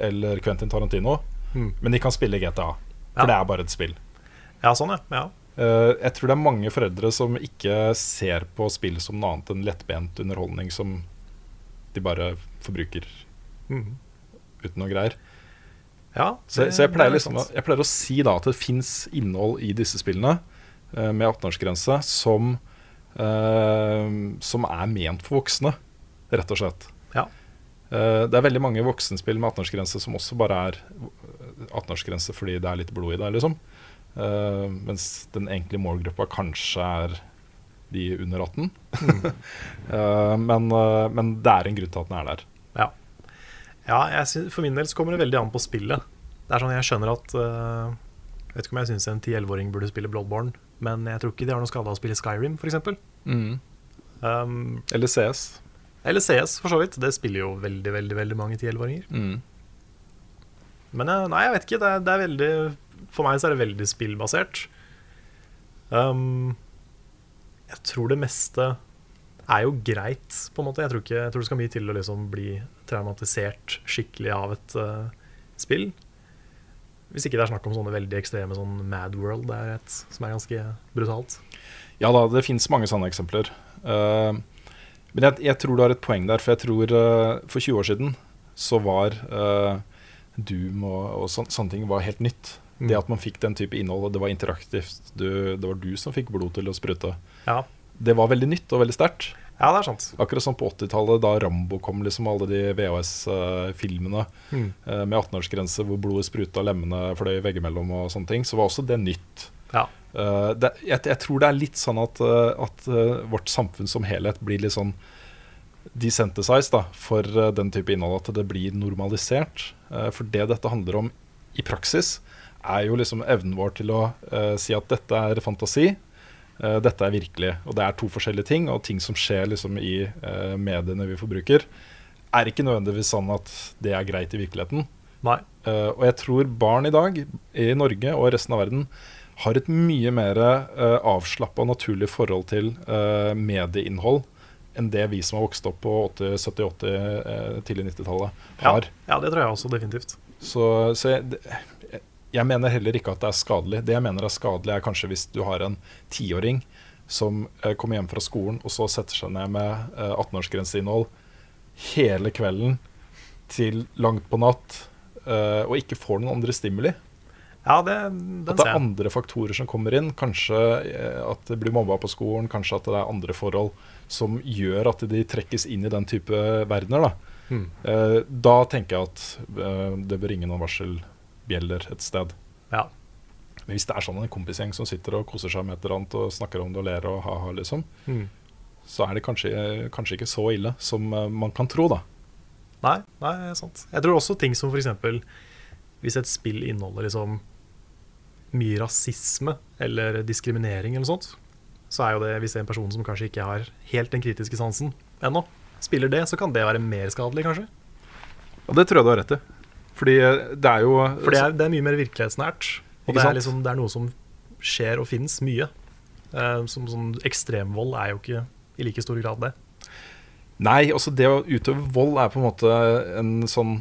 eller Quentin Tarantino, Mm. men de kan spille GTA. For Ja. det er bare et spill. Ja, sånn, ja. ja. Eh, jeg tror det er mange foreldre som ikke ser på spill som noe annet enn lettbent underholdning som de bare forbruker Mhm. uten noe greier. ja Mm. Så, så jeg, det- pleier det er sånn. liksom, sant. jeg pleier å si da at det fins innhold i disse spillene eh, med 18-årsgrense som, eh, som er ment for voksne, rett og slett. Ja. Eh, det er veldig mange voksenspill med 18-årsgrense som også bare er 18-årsgrense fordi det er litt blod i det, liksom. Eh, mens den egentlige målgruppa kanskje er de under 18. Eh, men, eh, men det er en grunn til at den er der. Ja, ja jeg sy- for min del så kommer det veldig an på spillet. Det er sånn jeg skjønner at eh, Jeg vet ikke om jeg syns en 10-11-åring burde spille Bloodborne, men jeg tror ikke de har noe skade av å spille Skyrim, f.eks. Um, Eller CS. eller CS, for så vidt. Det spiller jo veldig veldig, veldig mange 10-11-åringer. Men jeg, nei, jeg vet ikke. Det er, det er veldig For meg så er det veldig spillbasert. Um, jeg tror det meste er jo greit, på en måte. Jeg tror, ikke, jeg tror det skal mye til å liksom bli traumatisert skikkelig av et eh, spill. Hvis ikke det er snakk om sånne veldig ekstreme sånn Mad World, det er et som er ganske brutalt. Ja da, det finnes mange sånne eksempler. Eh, men jeg, jeg tror du har et poeng der, for jeg tror eh, for 20 år siden så var eh, Doom og, og sån, sånne ting var helt nytt. Mm. Det at man fikk den type innhold, og det var interaktivt, du, det var du som fikk blod til å sprute, Ja, det var veldig nytt og veldig sterkt. ja det er sant. Akkurat som på 80-tallet, da Rambo kom, liksom alle de eh, VHS-filmene Mm. Eh, med 18-årsgrense hvor blodet spruta, lemmene fløy veggimellom og sånne ting, så var også det nytt. Ja. Eh, det, jeg, jeg tror det er litt sånn at, eh, at eh, vårt samfunn som helhet blir litt sånn desensitized da, for eh, den type innhold, at det blir normalisert. Eh, for det dette handler om i praksis, er jo liksom evnen vår til å eh, si at dette er fantasi, eh, dette er virkelig. Og det er to forskjellige ting, og ting som skjer liksom i eh, mediene vi forbruker, er ikke nødvendigvis sånn at det er greit i virkeligheten. Nei. Eh, og jeg tror barn i dag, i Norge og i resten av verden, har et mye mer uh, avslappa og naturlig forhold til eh, medieinnhold enn det vi som har vokst opp på 80-, 70-, 80-, eh, tidlig 90-tallet, Ja. har. ja, det tror jeg også definitivt. Så, så jeg, det- jeg mener heller ikke at det er skadelig. Det jeg mener er skadelig, er kanskje hvis du har en tiåring som eh, kommer hjem fra skolen og så setter seg ned med eh, 18-årsgrense-innhold hele kvelden til langt på natt, eh, og ikke får noen andre stimuli. Ja, det, den At det ser er jeg. andre faktorer som kommer inn. Kanskje eh, at det blir mobba på skolen, kanskje at det er andre forhold som gjør at de trekkes inn i den type verdener. Da, Mm. Eh, da tenker jeg at eh, det bør ringe noen varselbjeller et sted. Ja. Men hvis det er sånn en kompisgjeng som sitter og koser seg med et eller annet og snakker om det og ler og ha-ha, liksom, Mm. så er det kanskje, kanskje ikke så ille som eh, man kan tro, da. Nei, nei, det er sant. Jeg tror også ting som f.eks. hvis et spill inneholder liksom mye rasisme eller diskriminering eller noe sånt, så er jo det hvis det er en person som kanskje ikke har helt den kritiske sansen ennå, spiller det, så kan det være mer skadelig, kanskje. Og det tror jeg du har rett i. Fordi eh, det er jo For det er, det er mye mer virkelighetsnært. Og Ikke det sant? er, liksom, det er noe som skjer og finnes mye. Eh, som sånn ekstremvold er jo ikke i like stor grad det. Nei, altså det å utøve vold er på en måte en sånn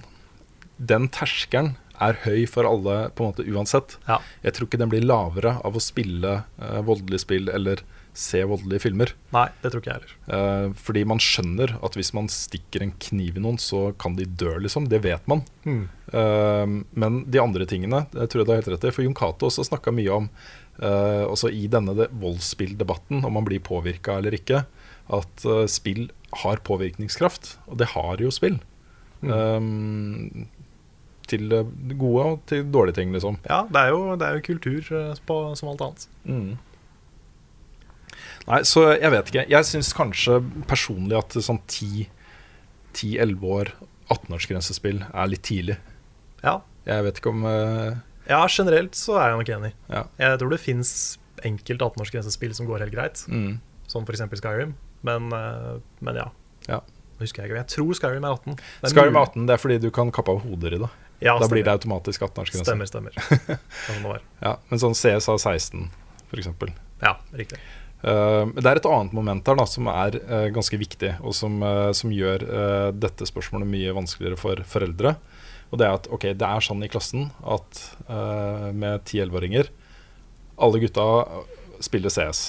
Den terskelen er høy for alle på en måte uansett. Ja. Jeg tror ikke den blir lavere av å spille eh, voldelige spill eller se voldelige filmer. Nei, det tror ikke jeg heller. Eh, fordi man skjønner at hvis man stikker en kniv i noen, så kan de dø, liksom. Det vet man. Eh, men de andre tingene det tror jeg du har helt rett i. For Jon Cato også snakka mye om, eh, også i denne de- voldsspilldebatten, om man blir påvirka eller ikke, at eh, spill har påvirkningskraft. Og det har jo spill. Eh, til eh, gode og til dårlige ting, liksom. Ja, det er jo, det er jo kultur eh, på, som alt annet. Nei, så jeg vet ikke. Jeg syns kanskje personlig at sånn 10, 10-11 år, 18-årsgrensespill er litt tidlig. Ja, Jeg vet ikke om eh, Ja, generelt så er jeg nok enig. Ja. Jeg tror det fins enkelt 18-årsgrensespill som går helt greit, mm, som f.eks. Skyrim. Men, eh, men ja. Ja. Nå Husker jeg ikke, men jeg tror Skyrim er 18. Det er Skyrim mulig. 18, det er fordi du kan kappe av hoder i det. Ja, da blir det automatisk 18-årsgrense. Stemmer, stemmer. Det er sånn det var. Ja, men sånn CSA 16, f.eks. Ja, riktig. Uh, men det er et annet moment her da, som er eh, ganske viktig, og som, eh, som gjør eh, dette spørsmålet mye vanskeligere for foreldre. Og det er at ok, det er sånn i klassen at eh, med 10-11-åringer Alle gutta spiller CS.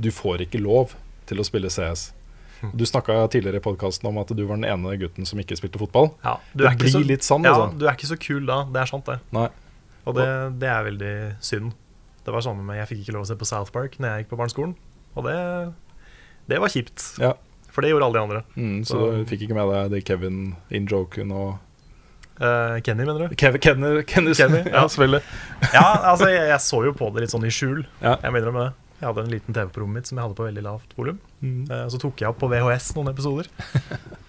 Du får ikke lov til å spille CS. Hm. Du snakka tidligere i podkasten om at du var den ene gutten som ikke spilte fotball. Ja, Det blir litt sånn, ja, altså. Du er ikke så kul da. Det er sant, det. Nei. Og det, det er veldig synd. Det var samme med Jeg fikk ikke lov å se på South Park når jeg gikk på barneskolen. Og det, det var kjipt. Ja. For det gjorde alle de andre. Mm, så, Så- du fikk ikke med deg de Kevin Injoken og Eh, Kenny, mener du? Kev, Kenner, Kenner, Kenny, ja. ja, selvfølgelig. Ja, altså, jeg, jeg så jo på det litt sånn i skjul. Ja. Jeg må innrømme det. Jeg hadde en liten TV på rommet mitt som jeg hadde på veldig lavt volum. Mm. Eh, Så tok jeg opp på VHS noen episoder.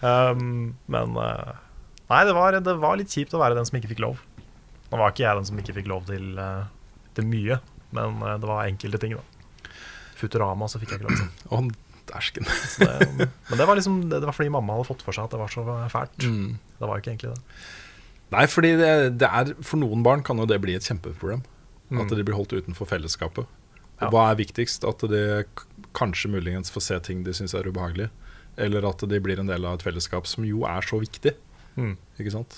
Um, men eh, Nei, det var, det var litt kjipt å være den som ikke fikk lov. Nå var ikke jeg den som ikke fikk lov til, eh, til mye, men eh, det var enkelte ting, da. Futurama så fikk jeg ikke lov til. Å, dæsken. Så det, men det var liksom Det det var fordi mamma hadde fått for seg at det var så fælt. Mm. Det var jo ikke egentlig det. Nei, fordi det, det er, for noen barn kan jo det bli et kjempeproblem. At de blir holdt utenfor fellesskapet. Og Ja. Hva er viktigst? At de k- kanskje muligens får se ting de syns er ubehagelig, eller at de blir en del av et fellesskap som jo er så viktig. Mm. Ikke sant?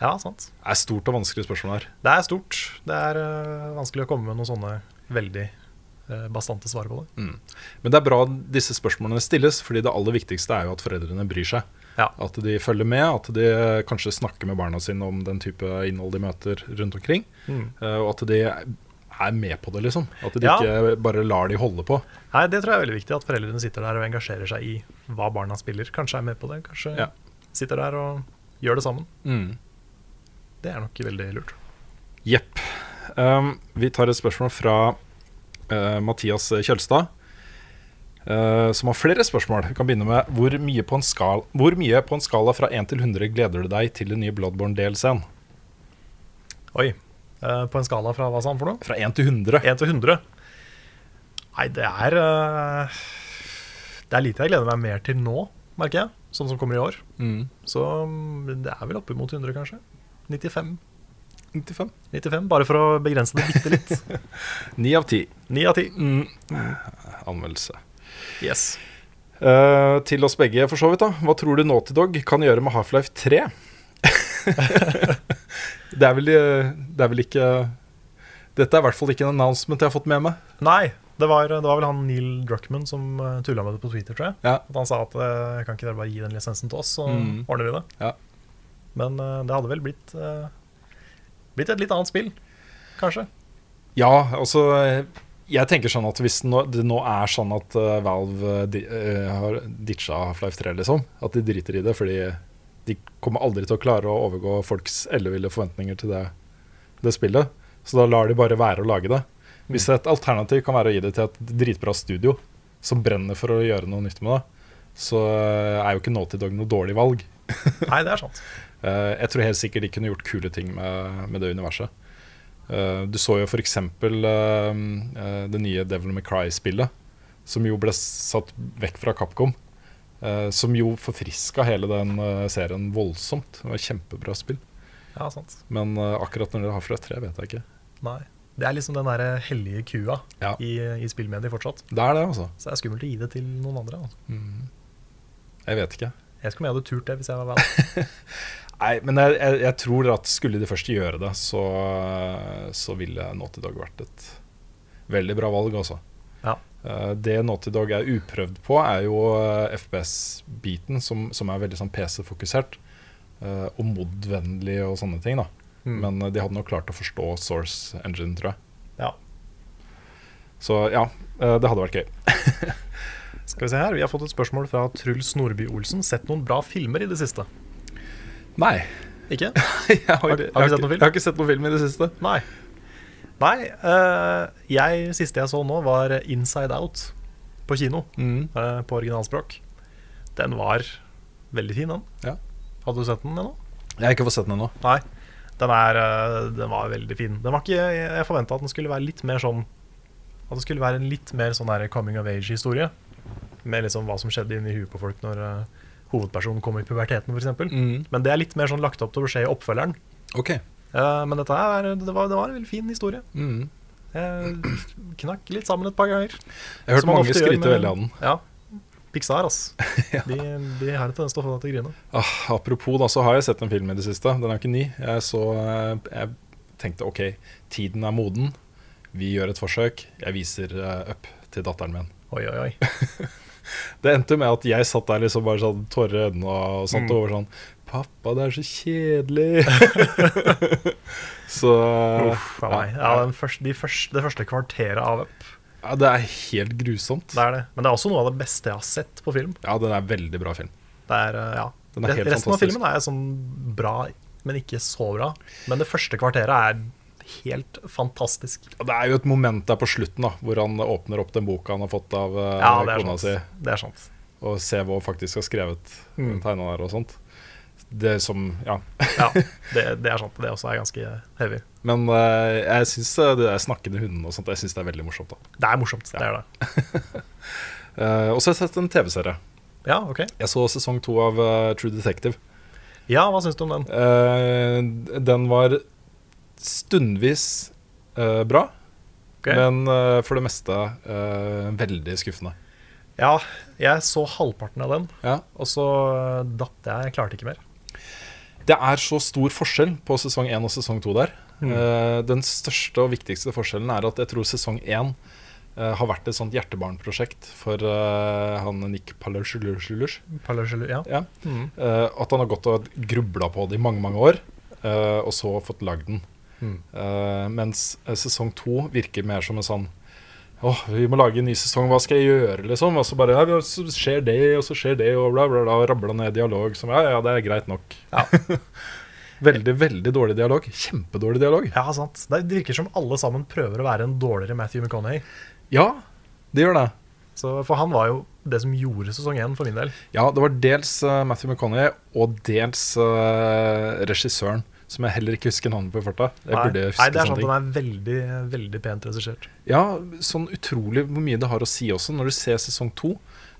Ja, sant. Det er stort og vanskelig spørsmål her. Det er stort. Det er eh, vanskelig å komme med noen sånne veldig eh, bastante svar på det. Men det er bra disse spørsmålene stilles, fordi det aller viktigste er jo at foreldrene bryr seg. Ja. At de følger med, at de kanskje snakker med barna sine om den type innhold de møter rundt omkring. Mm. eh, Og at de er med på det, liksom. At de Ja. ikke bare lar de holde på. Nei, Det tror jeg er veldig viktig, at foreldrene sitter der og engasjerer seg i hva barna spiller. Kanskje er med på det, kanskje Ja. sitter der og gjør det sammen. Mm. Det er nok veldig lurt. Jepp. Um, vi tar et spørsmål fra eh, Mathias Kjølstad, eh, som har flere spørsmål. Vi kan begynne med hvor mye på en, skal, hvor mye på en skala fra 1 til 100 gleder du deg til den nye Bloodborne DLC-en? Oi. eh, på en skala fra hva sa han for noe? Fra 1 til 100. 1 til 100? Nei, det er eh, Det er lite jeg gleder meg mer til nå, merker jeg. Sånn som kommer i år. Mm. Så mm, det er vel oppimot 100, kanskje. 95. 95. 95, Bare for å begrense det bitte litt. 9 av 10. 9 av 10. Mm. Anmeldelse. Yes. Eh, til oss begge, for så vidt. da Hva tror du Naughty Dog kan gjøre med Half-Life 3? det, er vel, eh, det er vel ikke Dette er i hvert fall ikke en announcement jeg har fått med meg. Nei, det var, det var vel han Neil Druckman som uh, tulla med det på Twitter, tror jeg. Ja. At han sa at eh, kan ikke dere bare gi den lisensen til oss, så Mm. ordner vi det. Ja. Men eh, det hadde vel blitt, eh, blitt et litt annet spill, kanskje. Ja, altså Jeg tenker sånn at hvis nå, det nå er sånn at eh, Valve eh, di, eh, har ditcha Half-Life 3, liksom, at de driter i det fordi de kommer aldri til å klare å overgå folks elleville forventninger til det, det spillet, Så da lar de bare være å lage det. Hvis et alternativ kan være å gi det til et dritbra studio som brenner for å gjøre noe nytt med det, så eh, er jo ikke Naughty Dog noe dårlig valg. Nei, det er sant. Eh, jeg tror helt sikkert de kunne gjort kule ting med, med det universet. Eh, du så jo f.eks. Uh, det nye Devil May Cry-spillet, som jo ble satt vekk fra Capcom. eh, som jo forfriska hele den eh, serien voldsomt. Det var et kjempebra spill. Ja, sant. Men eh, akkurat når det har fra tre, vet jeg ikke. Nei. Det er liksom den der hellige kua Ja. i, i spillmedier fortsatt. Det er det, altså. Så det er skummelt å gi det til noen andre. Altså. Jeg vet ikke. Jeg skulle om jeg hadde turt det hvis jeg var vel. Nei, men jeg, jeg, jeg tror at skulle de først gjøre det, så, så ville Naughty Dog vært et veldig bra valg, altså. Ja. Eh, Det Naughty Dog er uprøvd på, er jo eh, FPS-biten, som, som er veldig sånn PC-fokusert. eh, Og mod-vennlig og sånne ting. da Mm. Men eh, de hadde nok klart å forstå Source Engine, tror jeg. Ja. Så ja, eh, det hadde vært gøy. Skal vi se her, vi har fått et spørsmål fra Truls Nordby Olsen. Sett noen bra filmer i det siste? Nei, Ikke? jeg har, Har- har jeg du sett noen film? jeg har ikke sett noen film i det siste. Nei. Nei, eh, jeg, siste jeg så nå var Inside Out på kino, eh, på originalspråk. Den var veldig fin, den. Ja. Hadde du sett den ennå? Jeg har ikke fått sett den ennå. Nei. Den, er, eh, den var veldig fin. Den var ikke, jeg jeg forventa at den skulle være litt mer sånn At det skulle være en litt mer sånn der coming of age-historie. Med liksom hva som skjedde inni huet på folk når eh, hovedpersonen kom i puberteten, f.eks. Mm. Men det er litt mer sånn lagt opp til å skje i oppfølgeren. Ok. Eh, men dette her, er- det var, det var en veldig fin historie. Mm. Jeg knakk litt sammen et par ganger. Jeg har hørt som man mange ofte gjør skryte med- veldig av den. Ja. Pixar, ass. Ja. De, de har en tendens til å få deg til å grine. Ah, apropos, da, så har jeg sett en film i det siste. Den er jo ikke ny. Jeg, så, eh, jeg tenkte ok, tiden er moden. Vi gjør et forsøk. Jeg viser eh, Up til datteren min. Oi, oi, oi. Det endte med at jeg satt der liksom bare sånn tårer i øynene og satt Mm. over sånn Pappa, det er så kjedelig. så Uff a meg. Ja, den første, de første, det første kvarteret av Up. ja, det er helt grusomt. Det er det. Men det er også noe av det beste jeg har sett på film. Ja, den er veldig bra film. Det er, eh, ja. Den er helt Resten av fantastisk. filmen er sånn bra, men ikke så bra. Men det første kvarteret er helt fantastisk. Og Det er jo et moment der på slutten da, hvor han åpner opp den boka han har fått av eh, Ja, det er sånn, kona si. sant. Det er sant. og se hva hun faktisk har skrevet Mm. mm. tegna der og sånt. Det som, ja. Ja, det, det er sant. Det også er ganske heavy. Men eh, jeg syns det der snakkende hundene og sånt, jeg synes det er veldig morsomt. da. Det er morsomt. Det er det. Eh, og så har jeg sett en TV-serie. Ja, ok. Jeg så sesong to av eh, True Detective. Ja, hva syns du om den? Eh, den var stundvis eh, bra, Ok. men eh, for det meste eh, veldig skuffende. Ja, jeg så halvparten av den, Ja. og så datt jeg. Jeg klarte ikke mer. Det er så stor forskjell på sesong 1 og sesong 2 der. Eh, den største og viktigste forskjellen er at jeg tror sesong 1 har vært et sånt hjertebarnprosjekt for eh, han Nick Palusjulush. Palergelu- Ja. Ja. Mm. Eh, at han har gått og grubla på det i mange, mange år, eh, og så fått lagd den. Mm. Eh, mens eh, sesong 2 virker mer som en sånn Åh, vi må lage en ny sesong, hva skal jeg gjøre, liksom? Og så bare ja, så skjer det, og så skjer det, og bla, bla, bla. og Rabla ned dialog som ja, ja, det er greit nok. Ja. Veldig, veldig dårlig dialog. Kjempedårlig dialog. ja, sant. Det det virker som alle sammen prøver å være en dårligere Matthew McConaughey. Ja, det gjør det. Så, for han var jo det som gjorde sesong én for min del. Ja, det var dels eh, Matthew McConaughey og dels eh, regissøren, som jeg heller ikke husker navnet på i farta. Jeg Nei. burde Nei, huske det er sant. sånne ting. Den er veldig, veldig pent regissert. Ja, sånn utrolig hvor mye det har å si også, når du ser sesong to.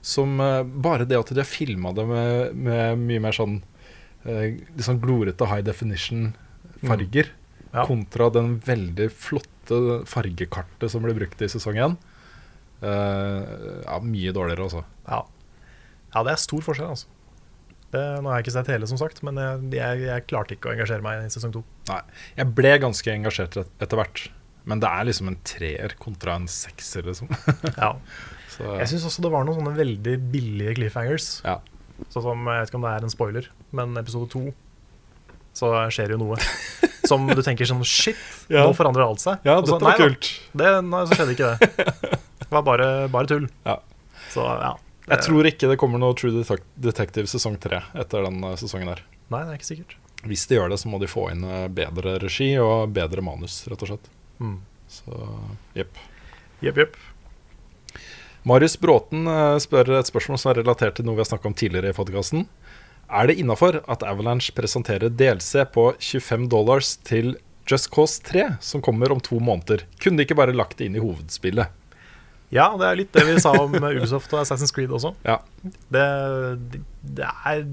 Som eh, bare det at de har filma det med, med mye mer sånn eh, litt sånn glorete high definition-farger, Ja. kontra den veldig flotte fargekartet som ble brukt i sesong én. Eh, ja, mye dårligere, altså. Ja. ja, det er stor forskjell, altså. Det, nå har jeg ikke sett hele, som sagt, men jeg, jeg, jeg klarte ikke å engasjere meg i sesong to. Nei, jeg ble ganske engasjert et- etter hvert. Men det er liksom en treer kontra en sekser, liksom. Ja. Jeg Så, syns også det var noen sånne veldig billige cliffhangers. ja. Sånn som, Jeg vet ikke om det er en spoiler, men episode to så skjer jo noe som du tenker sånn Shit, Ja. nå forandrer alt seg. ja, Og så, dette nei var da, kult. Det, nei, så skjedde ikke det. Det var bare, bare tull. Ja. Så ja. Jeg tror ikke det kommer noe True Detec- Detective sesong tre etter den eh, sesongen her. Nei, det er ikke sikkert. Hvis de gjør det, så må de få inn eh, bedre regi og bedre manus, rett og slett. Mm. Så jepp. Jepp, jepp. Marius Bråten eh, spør et spørsmål som er relatert til noe vi har snakka om tidligere i podkasten. Er det innafor at Avalanche presenterer DLC på 25 dollars til Just Cause 3, som kommer om to måneder? Kunne de ikke bare lagt det inn i hovedspillet? Ja, det er litt det vi sa om Ubisoft og Assassin's Creed også. Ja. Det, det er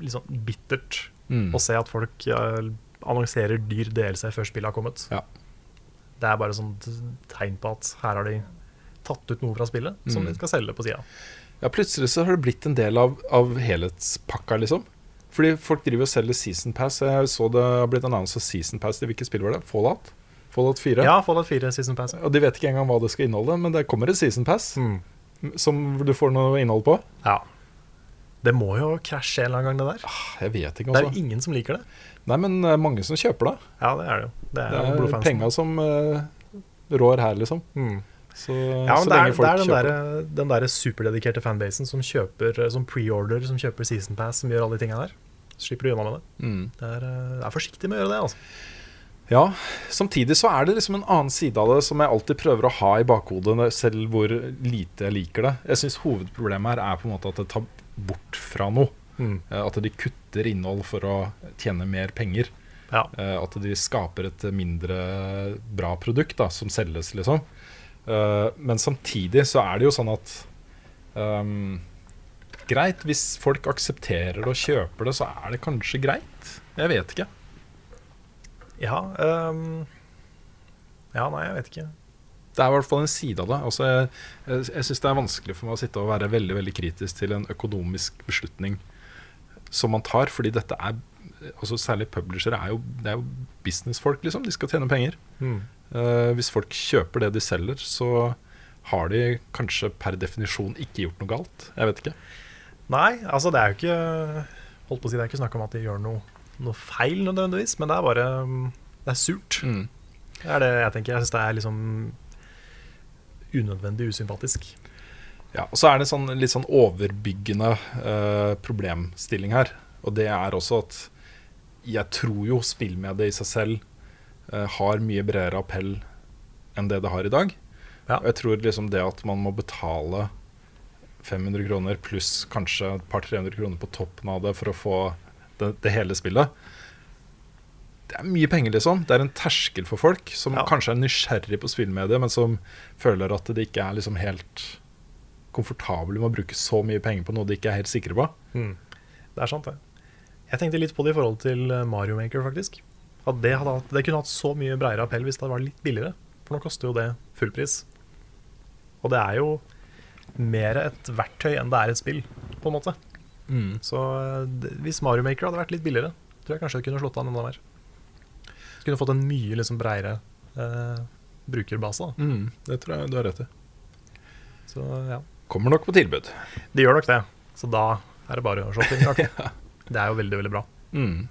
liksom bittert Mm. å se at folk eh, annonserer dyr DLC før spillet har kommet. Ja. Det er bare sånn tegn på at her har de tatt ut noe fra spillet Mm. som de skal selge på sida. Ja, plutselig så har det blitt en del av, av helhetspakka, liksom. Fordi folk driver og selger Season Pass. Jeg så det har blitt annonsa Season Pass til hvilket spill var det? Fallout? Fallout 4? Ja, Fallout 4 Season Pass. Og de vet ikke engang hva det skal inneholde, men det kommer et Season Pass Mm. som du får noe innhold på. Ja. Det må jo krasje en eller annen gang, det der. Ah, Jeg vet ikke, Det er altså. jo ingen som liker det. Nei, men det er mange som kjøper det. Ja, det er det jo. Det er, Det jo er blodfansen. penga som eh, rår her, liksom. Mm. Så, Ja, så men det er, lenge folk det er den, kjøper det. der, den der superdedikerte fanbasen som kjøper eh, som preorder, som kjøper season pass, som gjør alle de tinga der. Så slipper du unna med det. Mm. Det er, eh, det er forsiktig med å gjøre det, altså. Ja, samtidig så er det liksom en annen side av det som jeg alltid prøver å ha i bakhodet, når- selv hvor lite jeg liker det. Jeg syns hovedproblemet her er på en måte at det tar bort fra noe. Eh, At de kutter innhold for å tjene mer penger. Ja. Eh, At de skaper et mindre bra produkt da, som selges, liksom. Eh, Men samtidig så er det jo sånn at ehm, Greit, hvis folk aksepterer det og kjøper det, så er det kanskje greit. Jeg vet ikke. Ja, ehm, ja, nei, jeg vet ikke. Det er i hvert fall en side av det. Altså, jeg jeg, jeg syns det er vanskelig for meg å sitte og være veldig veldig kritisk til en økonomisk beslutning som man tar, fordi dette er altså Særlig publishere er jo, det er jo businessfolk, liksom. De skal tjene penger. Eh, hvis folk kjøper det de selger, så har de kanskje per definisjon ikke gjort noe galt. Jeg vet ikke. Nei, altså det er jo ikke Holdt på å si, det er ikke snakk om at de gjør noe, noe feil nødvendigvis, men det er bare mm, Det er surt. Det er det jeg tenker. Jeg syns det er liksom unødvendig usympatisk. Ja, og Så er det en sånn, litt sånn overbyggende eh, problemstilling her. Og det er også at jeg tror jo spillmediet i seg selv eh, har mye bredere appell enn det det har i dag. Ja. Og jeg tror liksom det at man må betale 500 kroner pluss kanskje et par 300 kroner på toppen av det for å få det, det hele spillet Det er mye penger, liksom. Det er en terskel for folk som Ja. kanskje er nysgjerrig på spillmediet, men som føler at de ikke er liksom helt komfortable med å bruke så mye penger på noe de ikke er helt sikre på. Det er sant, det. Jeg tenkte litt på det i forhold til eh, Mario Maker, faktisk. At det, hadde, hatt- det kunne hatt så mye bredere appell hvis det var litt billigere. For nå koster jo det full pris. Og det er jo mer et verktøy enn det er et spill, på en måte. Mm. Så eh, det- hvis Mario Maker hadde vært litt billigere, tror jeg kanskje det kunne slått an enda mer. Kunne fått en mye liksom bredere eh, brukerbase. Da. Mm. Det tror jeg du har rett i. Så ja. Kommer nok på tilbud. De gjør nok det. Så da er det bare å shoppe. klart. Det er jo veldig, veldig bra. Mm.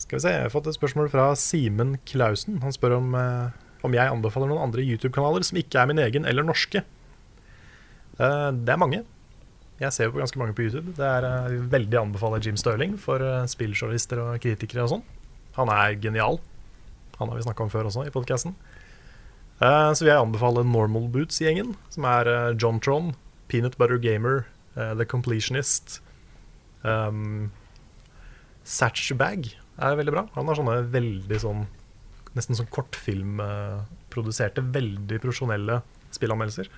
Skal vi se, Jeg har fått et spørsmål fra Simen Klausen. Han spør om, eh, om jeg anbefaler noen andre YouTube-kanaler som ikke er min egen eller norske. Eh, det er mange. Jeg ser jo på ganske mange på YouTube. Det er eh, veldig anbefaler Jim Stirling for eh, spilljournalister og kritikere og sånn. Han er genial. Han har vi snakka om før også i podkasten. Eh, Så vil jeg anbefale Normal Boots-gjengen, som er eh, John Tron, Peanut Butter Gamer, eh, The Completionist um, Satchbag er veldig bra. Han har sånne veldig sånn Nesten sånn kortfilmproduserte, veldig profesjonelle spillanmeldelser.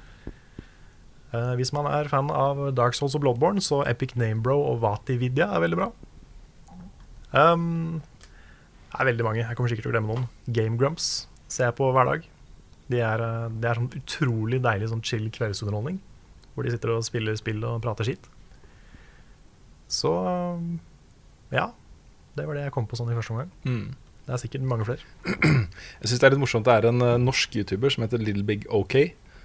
Eh, hvis man er fan av Dark Souls og Bloodborne, så Epic Namebro og Vati Vidya er veldig bra. Um, det er veldig mange. Jeg kommer sikkert til å glemme noen. Game Grumps ser jeg på hver dag. De er, eh, det er sånn utrolig deilig sånn chill kveldsunderholdning. Hvor de sitter og spiller spill og prater skitt. Så um, ja. Det var det jeg kom på sånn i første omgang. Det er sikkert mange flere. Jeg syns det er litt morsomt det er en eh, norsk YouTuber som heter Little Big OK,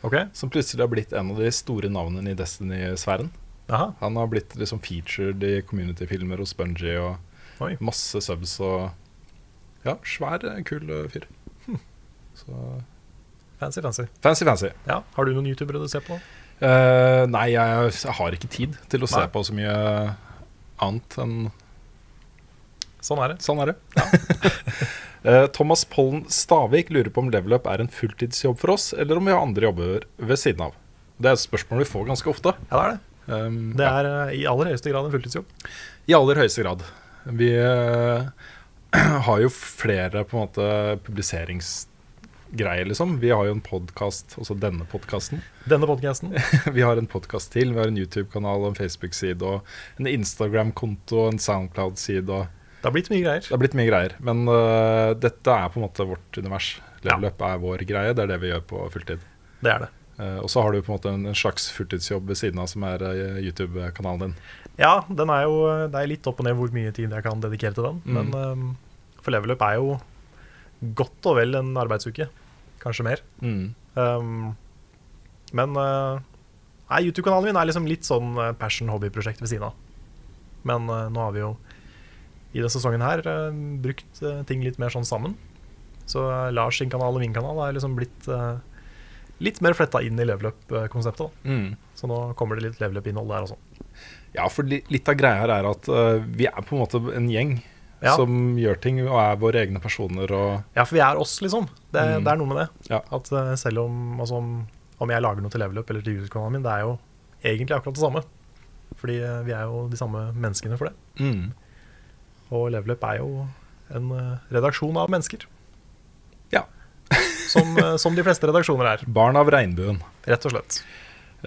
Ok, som plutselig har blitt en av de store navnene i Destiny-sfæren. Aha. Han har blitt liksom featured i community-filmer og Spongy og Oi. masse subs og Ja, svær, eh, kul eh, fyr. Så Fancy, fancy. fancy, fancy. Ja, Har du noen youtubere du ser på? Eh, nei, jeg, jeg har ikke tid til å se Nei. på så mye annet enn Sånn er det. Sånn er det. Eh, Thomas Pollen Stavik lurer på om level up er en fulltidsjobb for oss, eller om vi har andre jobber ved siden av. Det er et spørsmål vi får ganske ofte. Ja, det er det. Um, Det er eh, i aller høyeste grad en fulltidsjobb. I aller høyeste grad. Vi eh, har jo flere på en måte publiseringsgreier, liksom. Vi har jo en podkast, også denne podkasten. Denne podkasten. Vi har en podkast til. Vi har en YouTube-kanal, og en Facebook-side, og en Instagram-konto, og en Soundcloud-side. og Det har blitt mye greier. Det har blitt mye greier. Men eh, dette er på en måte vårt univers. Ja. Level up er vår greie. Det er det vi gjør på fulltid. Det er det. Eh, og så har du på en måte en, en slags fulltidsjobb ved siden av, som er eh, YouTube-kanalen din. Ja, den er jo, det er litt opp og ned hvor mye tid jeg kan dedikere til den. Mm. Men ehm, for level up er jo godt og vel en arbeidsuke. Kanskje mer. Ehm, men eh, nei, YouTube-kanalen min er liksom litt sånn eh, passion-hobbyprosjekt ved siden av. Men eh, nå har vi jo i denne sesongen her eh, brukt eh, ting litt mer sånn sammen. Så eh, Lars sin kanal og min kanal er liksom blitt eh, litt mer fletta inn i level up-konseptet. da. Mm. Så nå kommer det litt level up-innhold der også. Ja, for li- litt av greia her er at eh, vi er på en måte en gjeng Ja. som gjør ting og er våre egne personer og Ja, for vi er oss, liksom. Det, Mm. det er noe med det. Ja. At eh, selv om, altså, om, om jeg lager noe til level up eller til YouTube-kanalen min, det er jo egentlig akkurat det samme. Fordi eh, vi er jo de samme menneskene for det. Og Level Up er jo en eh, redaksjon av mennesker. Ja. som, eh, som de fleste redaksjoner er, Barn av regnbuen. rett og slett.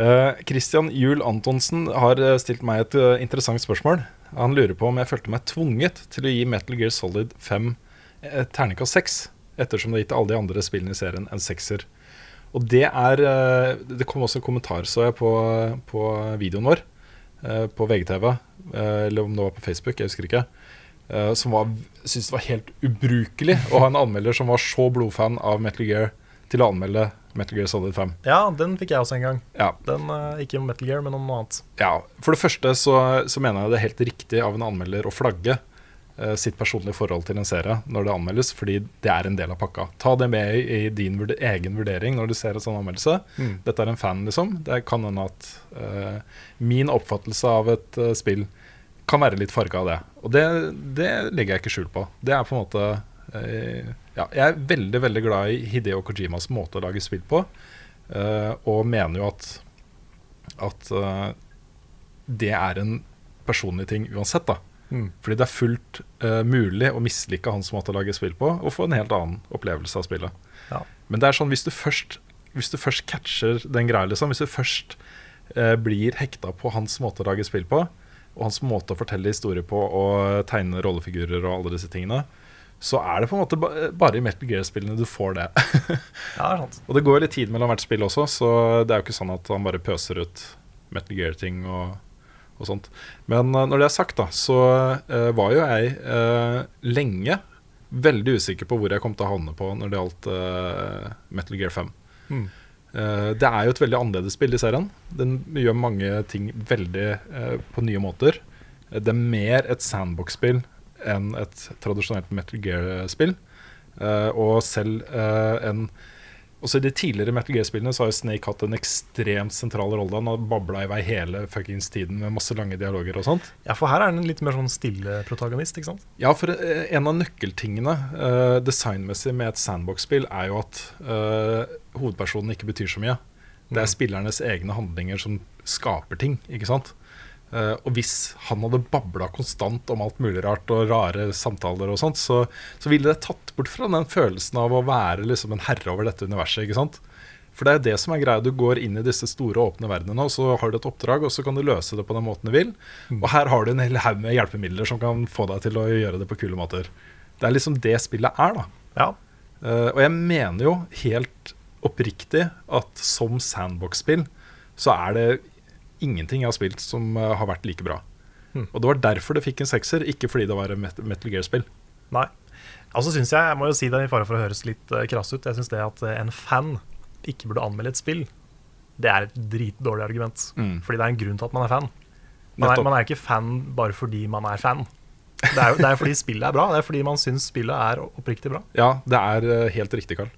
Eh, Christian Juel Antonsen har eh, stilt meg et eh, interessant spørsmål. Han lurer på om jeg følte meg tvunget til å gi Metal Gear Solid 5 eh, terningkast 6, ettersom det har gitt alle de andre spillene i serien en sekser. Og det er eh, Det kom også en kommentar, så jeg, på, på videoen vår eh, på VGTV, eh, eller om det var på Facebook, jeg husker ikke, eh, som var- syntes det var helt ubrukelig å ha en anmelder som var så blodfan av Metal Gear, til å anmelde Metal Gear Solid 5. Ja, den fikk jeg også en gang. Ja, Den, eh, Ikke om Metal Gear, men om noe annet. Ja, For det første så, så mener jeg det er helt riktig av en anmelder å flagge eh, sitt personlige forhold til en serie når det anmeldes, fordi det er en del av pakka. Ta det med i, i din vurd egen vurdering når du ser en sånn anmeldelse. Mm. Dette er en fan, liksom. Det kan hende at eh, min oppfattelse av et eh, spill kan være litt farga av det. Og det, det legger jeg ikke skjul på. Det er på en måte eh, ja, Jeg er veldig, veldig glad i Hideo Kojimas måte å lage spill på, eh, og mener jo at at eh, det er en personlig ting uansett, da. Mm. Fordi det er fullt eh, mulig å mislike hans måte å lage spill på, og få en helt annen opplevelse av spillet. Ja. Men det er sånn, hvis du først, hvis du først catcher den greia, liksom, hvis du først eh, blir hekta på hans måte å lage spill på, og hans måte å fortelle historier på og eh, tegne rollefigurer og alle disse tingene, så er det på en måte ba bare i Metal Gear-spillene du får det. Ja, det er sant. Og det går litt tid mellom hvert spill også, så det er jo ikke sånn at han bare pøser ut Metal Gear-ting og, og sånt. Men eh, når det er sagt, da, så eh, var jo jeg eh, lenge veldig usikker på hvor jeg kom til å havne på når det gjaldt eh, Metal Gear 5. Mm. Eh, det er jo et veldig annerledes spill i serien. Den gjør mange ting veldig eh, på nye måter. Eh, Det er mer et sandbox-spill enn et tradisjonelt Metal Gear-spill. Eh, og selv eh, en Også i de tidligere Metal Gear-spillene så har jo Snake hatt en ekstremt sentral rolle. Han har babla i vei hele fuckings tiden med masse lange dialoger og sånt. Ja, for her er den litt mer sånn stille protagonist, ikke sant? Ja, for eh, en av nøkkeltingene eh, designmessig med et sandbox-spill er jo at eh, hovedpersonen ikke betyr så mye. Det Mm. er spillernes egne handlinger som skaper ting, ikke sant. Eh, og hvis han hadde babla konstant om alt mulig rart og rare samtaler og sånt, så, så ville det tatt bort fra den følelsen av å være liksom en herre over dette universet, ikke sant. For det er jo det som er greia. Du går inn i disse store, åpne verdenene, og så har du et oppdrag, og så kan du løse det på den måten du vil. Og her har du en hel haug med hjelpemidler som kan få deg til å gjøre det på kule måter. Det er liksom det spillet er, da. Ja. Eh, og jeg mener jo helt oppriktig at som sandbox-spill så er det ingenting jeg har spilt som eh, har vært like bra. Hmm. Og det var derfor det fikk en sekser, ikke fordi det var et Met- Metal Gear-spill. Nei. Altså synes jeg, jeg må jo si det i fare for å høres litt eh, krass ut, jeg synes det at eh, en fan ikke burde anmelde et spill, det er et dritdårlig argument. Mm. Fordi det er en grunn til at man er fan. Man er, Nettopp. man er ikke fan bare fordi man er fan. Det er, jo- det er fordi spillet er bra. Det er fordi man syns spillet er oppriktig bra. Ja, det er eh, helt riktig, Karl.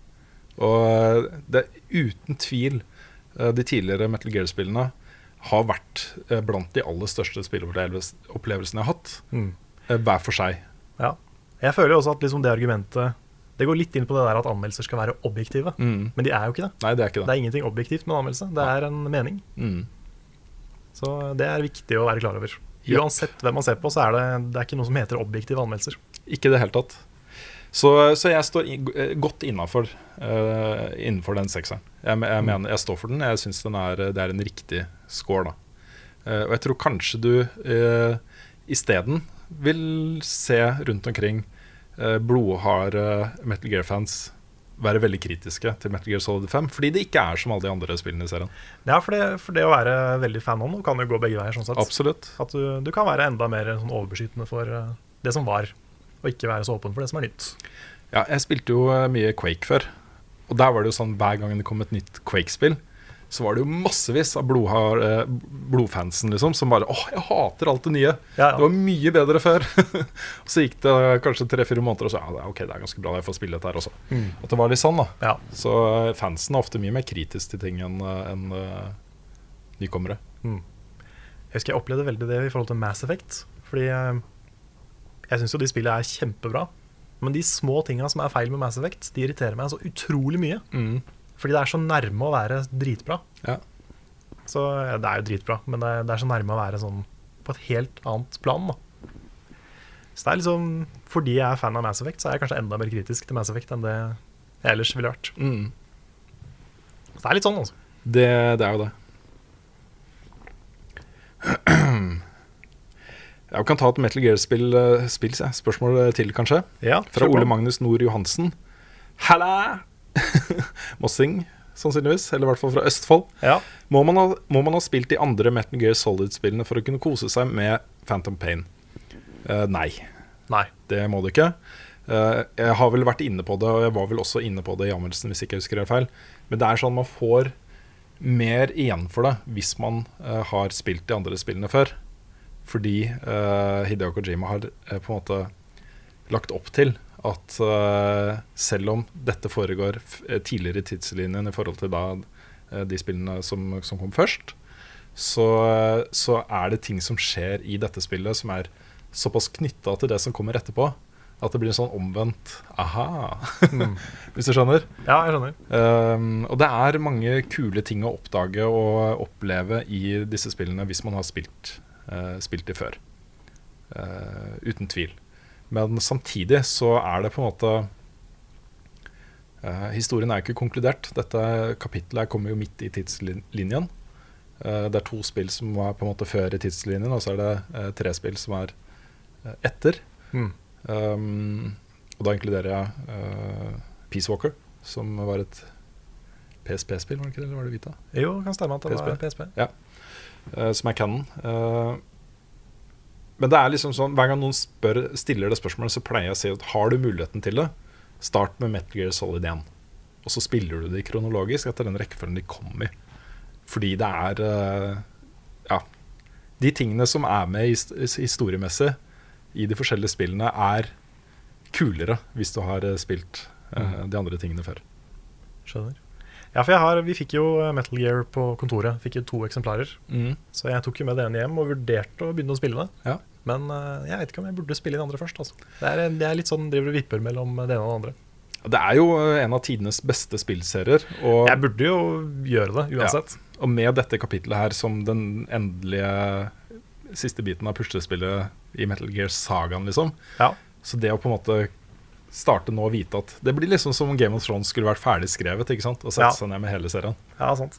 Og eh, det er uten tvil eh, de tidligere Metal Gear-spillene har vært eh, blant de aller største spilleopplevelsene jeg har hatt, Mm. eh, hver for seg. Ja. Jeg føler jo også at liksom det argumentet Det går litt inn på det der at anmeldelser skal være objektive. Mm. Men de er jo ikke det. Nei, det er ikke Det det. er ingenting objektivt med en anmeldelse. Det er en mening. Mm. Så det er viktig å være klar over. Ja. Uansett hvem man ser på, så er det, det er ikke noe som heter objektive anmeldelser. Ikke i det hele tatt. Så, så jeg står i, eh, godt innafor eh, innenfor den sekseren. Jeg, me- jeg, mener, jeg står for den. Jeg syns det er en riktig score, da. Eh, og jeg tror kanskje du uh, isteden vil se rundt omkring uh, blodharde Metal Gear-fans være veldig kritiske til Metal Gear Solid 5, fordi det ikke er som alle de andre spillene i serien. Ja, for det, for det å være veldig fan av noe kan jo gå begge veier. sånn sett. Absolutt. At du, du kan være enda mer sånn overbeskyttende for eh, det som var, og ikke være så åpen for det som er nytt. Ja, jeg spilte jo eh, mye Quake før. Og der var det jo sånn hver gang det kom et nytt Quake-spill, så var det jo massevis av blodhard, eh, blodfansen liksom, som bare åh, jeg hater alt det nye. Ja, ja. Det var mye bedre før. og så gikk det eh, kanskje tre-fire måneder, og så ja, det er- ok, det er ganske bra, jeg får spille dette her også. At det var litt sånn, da. Ja. Så eh, fansen er ofte mye mer kritisk til ting enn eh, enn, eh, nykommere. Jeg husker jeg opplevde veldig det i forhold til Mass Effect. Fordi eh, jeg syns jo de spillene er kjempebra. Men de små tinga som er feil med Mass Effect, de irriterer meg så utrolig mye. Fordi det er så nærme å være dritbra. Ja. Så ja, det er jo dritbra, men det er, det er så nærme å være sånn på et helt annet plan, da. Så det er liksom Fordi jeg er fan av Mass Effect, så er jeg kanskje enda mer kritisk til Mass Effect enn det jeg ellers ville vært. Så det er litt sånn, altså. Det, det er jo det. Jeg kan ta et Metal Gear-spill eh, spill, sier jeg. spørsmål eh, til, kanskje. Ja, Fra Ole Magnus Nord Johansen. Halla! Mossing, sannsynligvis. Eller i hvert fall fra Østfold. Ja. Må man, ha, må man ha spilt de andre Metal Gear Solid-spillene for å kunne kose seg med Phantom Pain? Eh, nei. Nei. Det må du ikke. Eh, jeg har vel vært inne på det, og jeg var vel også inne på det i anmeldelsen, hvis ikke jeg husker det feil. Men det er sånn man får mer igjen for det hvis man eh, har spilt de andre spillene før. Fordi eh, Hideo Kojima har eh, på en måte lagt opp til at eh, selv om dette foregår f eh, tidligere i tidslinjen i forhold til da eh, de spillene som, som kom først, så, så er det ting som skjer i dette spillet som er såpass knytta til det som kommer etterpå, at det blir en sånn omvendt aha, hvis du skjønner. Ja, jeg skjønner. Um, og det er mange kule ting å oppdage og oppleve i disse spillene hvis man har spilt, eh, spilt de før. Eh, uten tvil. Men samtidig så er det på en måte eh, Historien er jo ikke konkludert. Dette kapitlet her kommer jo midt i tidslinjen. Eh, det er to spill som er på en måte før i tidslinjen, og så er det eh, tre spill som er eh, etter. Mm. Um, og da inkluderer jeg eh, Peace Walker, som var et PSP-spill, var det ikke det? Eller var det Vita? Jo, kan stemme at det var PSP. PSP. Eh, som er canon. Eh, men det er liksom sånn, hver gang noen spør, stiller det spørsmålet, så pleier jeg å si at har du muligheten til det, start med Metal Gear Solid 1. Og så spiller du det kronologisk etter den rekkefølgen de kom i. Fordi det er eh, Ja. De tingene som er med his- his- historiemessig i de forskjellige spillene, er kulere hvis du har eh, spilt eh, de andre tingene før. Skjønner. Ja, for jeg har, Vi fikk jo Metal Gear på kontoret. Fikk jo to eksemplarer. Så jeg tok jo med det ene hjem og vurderte å begynne å spille det. Ja. Men eh, jeg vet ikke om jeg burde spille det andre først. Altså. Det, er, det er litt sånn driver og vipper mellom det ene og det andre. Det er jo eh, en av tidenes beste spillserier. Og Jeg burde jo gjøre det uansett. Og med dette kapitlet her som den endelige siste biten av puslespillet i Metal Gear-sagaen, liksom. Ja. Så det å på en måte starte nå og vite at Det blir liksom som om Game of Thrones skulle vært ferdig skrevet, ikke sant? Og sette Ja. seg ned med hele serien. Ja, sant.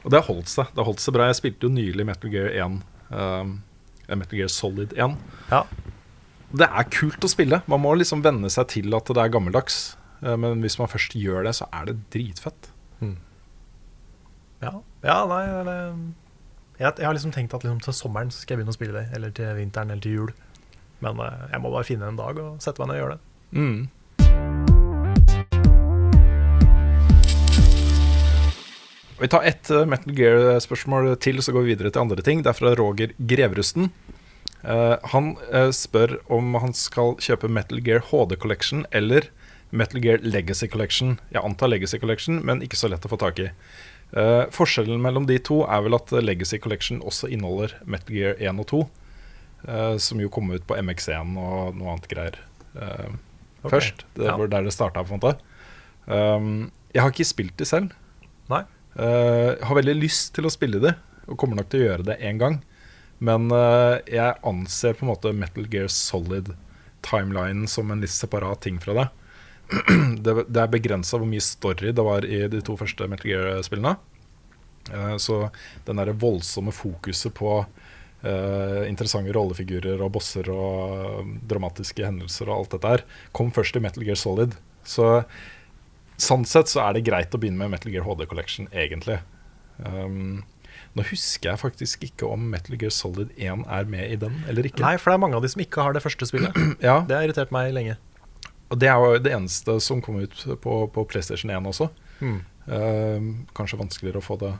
Og det har holdt seg. Det har holdt seg bra. Jeg spilte jo nylig Metal Gear 1. Um, eh, Metal Gear Solid 1. Ja. Det er kult å spille. Man må liksom venne seg til at det er gammeldags. Eh, Men hvis man først gjør det, så er det dritfett. Ja, ja nei det, eh, jeg, jeg har liksom tenkt at liksom, til sommeren så skal jeg begynne å spille det. Eller til vinteren eller til jul. Men eh, jeg må bare finne en dag og sette meg ned og gjøre det. Mm. Vi tar ett eh, Metal Gear-spørsmål til, så går vi videre til andre ting. Det er fra Roger Grevrusten. Eh, han eh, spør om han skal kjøpe Metal Gear HD Collection eller Metal Gear Legacy Collection. Jeg antar Legacy Collection, men ikke så lett å få tak i. Eh, forskjellen mellom de to er vel at Legacy Collection også inneholder Metal Gear 1 og 2, eh, som jo kom ut på MX1 og noe annet greier eh, Ok, først. Det ja. var der det starta, på en måte. Um, jeg har ikke spilt de selv. Nei. Eh, har veldig lyst til å spille de, og kommer nok til å gjøre det én gang. Men eh, jeg anser på en måte Metal Gear Solid-timelinen som en litt separat ting fra det. det, det er begrensa hvor mye story det var i de to første Metal Gear-spillene. Eh, så den der voldsomme fokuset på eh, interessante rollefigurer og bosser og eh, dramatiske hendelser og alt dette her, kom først i Metal Gear Solid. Så sånn sett så er det greit å begynne med Metal Gear HD Collection, egentlig. Um, nå husker jeg faktisk ikke om Metal Gear Solid 1 er med i den eller ikke. Nei, for det er mange av de som ikke har det første spillet. Ja, Det har irritert meg lenge. og det er jo det eneste som kom ut på, på PlayStation 1 også. Hmm. Um, kanskje vanskeligere å få det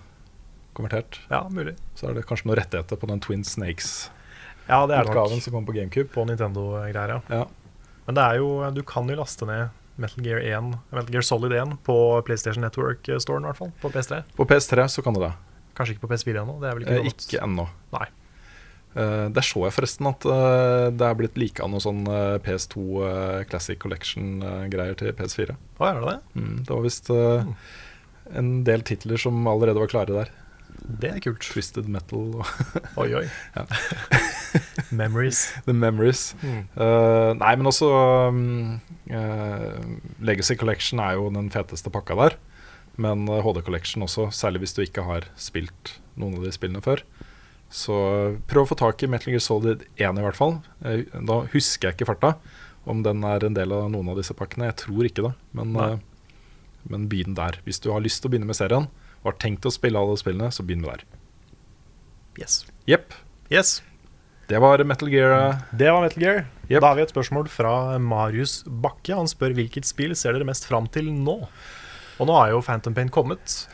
konvertert. Ja, mulig. Så er det kanskje noen rettigheter på den Twin Snakes-utgaven Ja, det er det nok som kom på GameCube. på Nintendo-greier, ja. Ja. Men det er jo, du kan jo laste ned Metal Gear 1, Metal Gear Solid 1 på PlayStation Network-storen, i hvert fall. På PS3. På PS3 så kan du det. Kanskje ikke på PS4 ennå. Det er vel ikke, Eh, lovt. ikke ennå. Nei. Eh, der så jeg forresten at eh, det er blitt lika noe sånn eh, PS2 eh, Classic Collection-greier til PS4. Å, er det det? Mm, det var visst eh, en del titler som allerede var klare der. Det er kult. Twisted Metal og Oi, oi. Ja. Memories. The Memories. Eh, nei, men også um, eh, Legacy Collection er jo den feteste pakka der. Men eh, HD Collection også, særlig hvis du ikke har spilt noen av de spillene før. Så eh, prøv å få tak i Metal Gear Solid 1 i hvert fall. Eh, da husker jeg ikke farta om den er en del av noen av disse pakkene. Jeg tror ikke det, men, Nei. eh, men begynn der. Hvis du har lyst til å begynne med serien og har tenkt å spille alle spillene, så begynn med der. Yes. Jepp. Yes. Det var Metal Gear. eh, Det var Metal Gear. Yep. Da har vi et spørsmål fra Marius Bakke. Han spør hvilket spill ser dere mest fram til nå? Og nå har jo Phantom Pain kommet.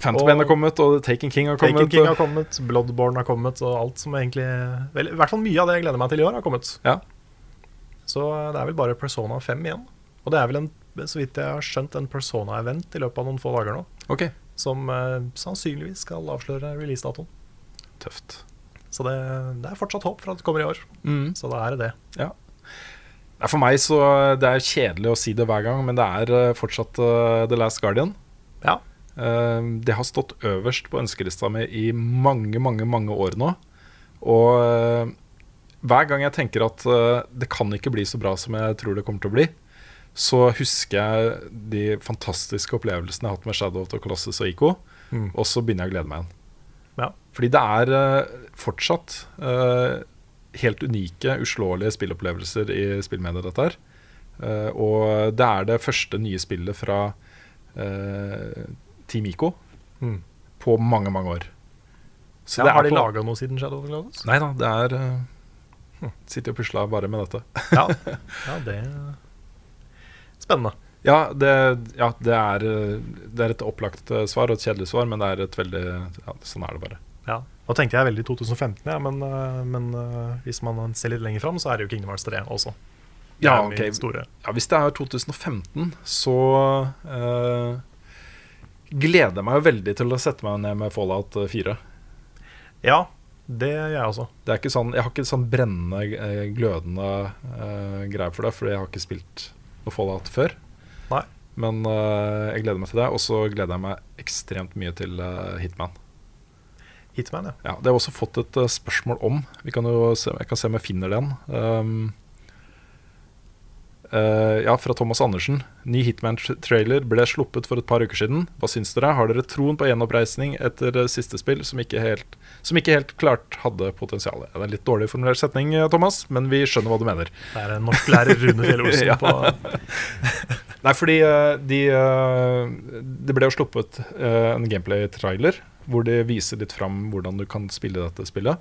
Phantom Og- Pain har kommet, og Taken King har kommet. Taken King og- har kommet, Bloodborne har kommet, og alt som egentlig vel, I hvert fall mye av det jeg gleder meg til i år, har kommet. Ja. Så det er vel bare Persona 5 igjen. Og det er vel, en, så vidt jeg har skjønt, en Persona-event i løpet av noen få dager nå. Ok, Som eh, sannsynligvis skal avsløre releasedatoen. tøft. Så det, det er fortsatt håp for at det kommer i år. Så da er det det. Nei, Mm. For meg så Det er kjedelig å si det hver gang, men det er eh, fortsatt eh, The Last Guardian. Ja. Eh, det har stått øverst på ønskelista mi i mange, mange mange år nå. Og eh, hver gang jeg tenker at eh, det kan ikke bli så bra som jeg tror det kommer til å bli, så husker jeg de fantastiske opplevelsene jeg har hatt med Shadow of the Colossus og Ico, Mm. og så begynner jeg å glede meg igjen. Ja. Fordi det er eh, fortsatt eh, helt unike, uslåelige spillopplevelser i spillmediet, dette her. Eh, og det er det første nye spillet fra eh, Team Ico Mm. på mange, mange år. Så ja, har de på- laga noe siden Shadow of the Clouds? Nei da, det er eh, Sitter og pusler bare med dette. Ja, ja det Spennende. Ja, det, ja, det, er, eh, det er et opplagt eh, svar og et kjedelig svar, men det er et veldig ja, Sånn er det bare. Ja. Nå tenkte jeg veldig 2015, ja, men, eh, men eh, hvis man ser litt lenger fram, så er det jo Kingdom Hearts 3 også. Det Ja, er min ok. Store. Ja, hvis det er 2015, så eh, gleder jeg meg jo veldig til å sette meg ned med Fallout 4. Ja, det gjør jeg også. Det er ikke sånn, jeg har ikke sånn brennende, eh, glødende eh, greier for det, fordi jeg har ikke spilt noe Fallout før. Nei. Men eh, jeg gleder meg til det, og så gleder jeg meg ekstremt mye til eh, Hitman. Hitman, ja. Ja, det har jeg også fått et eh, spørsmål om. Vi kan jo se, jeg kan se om jeg finner den. Um, eh, ja, fra Thomas Andersen. Ny Hitman-trailer ble sluppet for et par uker siden. Hva syns dere? Har dere troen på gjenoppreisning etter eh, siste spill som ikke helt, som ikke helt klart hadde potensial? Det er en litt dårlig formulert setning, eh, Thomas, men vi skjønner hva du mener. Det er en norsklærer Rune Fjell Olsen Ja. på Nei, fordi eh, de, eh, det ble jo sluppet eh, en gameplay-trailer hvor de viser litt fram hvordan du kan spille dette spillet.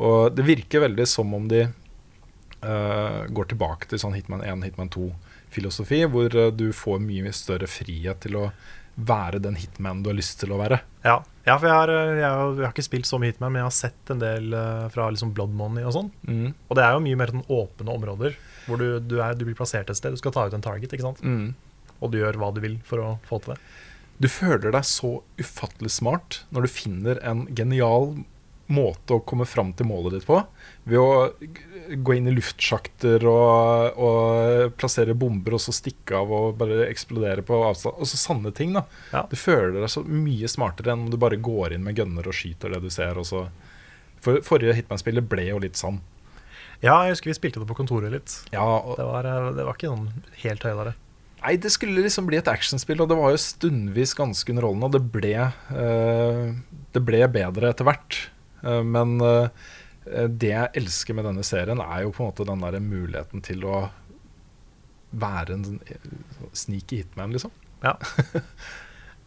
Og det virker veldig som om de eh, går tilbake til sånn Hitman 1, Hitman 2-filosofi, hvor eh, du får mye større frihet til å være den hitman du har lyst til å være. Ja, ja for jeg har, eh, jeg, har, jeg har ikke spilt så mye Hitman, men jeg har sett en del eh, fra liksom Blood Money og sånn. Og det er jo mye mer sånn åpne områder, hvor du, du, er, du blir plassert et sted, du skal ta ut en target, ikke sant? Mm. og du gjør hva du vil for å få til det. Du føler deg så ufattelig smart når du finner en genial måte å komme fram til målet ditt på. Ved å g- gå inn i luftsjakter og, og plassere bomber og så stikke av og bare eksplodere på avstand. Og så sanne ting, da. Ja. Du føler deg så mye smartere enn om du bare går inn med gønner og skyter det du ser. Og så. For forrige Hitman-spillet ble jo litt sånn. Ja, jeg husker vi spilte det på kontoret litt. Ja, og, Det var, eh, det var ikke noen helt høydere. nei, det skulle liksom bli et actionspill, og det var jo stundvis ganske underholdende, og det ble, eh, det ble bedre etter hvert. Eh, men eh, det jeg elsker med denne serien, er jo på en måte den der muligheten til å være en sånn, eh, sneaky hitman, liksom.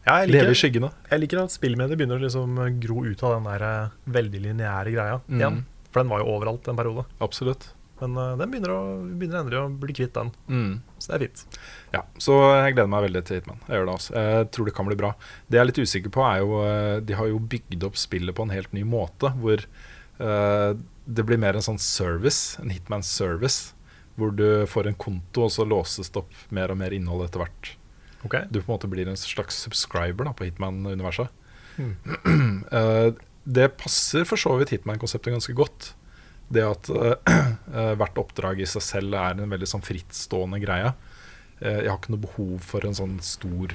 Ja, jeg Leve i liker, skyggene. jeg liker at spillmediet begynner å liksom gro ut av den der eh, veldig lineære greia Mm. igjen. For den var jo overalt en periode. Absolutt. Men eh, den begynner, å, vi begynner endelig å bli kvitt den, Mm. så det er fint. Ja, så jeg gleder meg veldig til Hitman. Jeg gjør det også. Jeg tror det kan bli bra. Det jeg er litt usikker på, er jo eh, De har jo bygd opp spillet på en helt ny måte, hvor eh, det blir mer en sånn service, en Hitman-service, hvor du får en konto, og så låses det opp mer og mer innhold etter hvert. Ok, Du på en måte blir en slags subscriber da, på Hitman-universet. Mm. Eh, det passer for så vidt Hitman-konseptet ganske godt. Det at eh, eh, hvert oppdrag i seg selv er en veldig sånn frittstående greie. Eh, jeg har ikke noe behov for en sånn stor,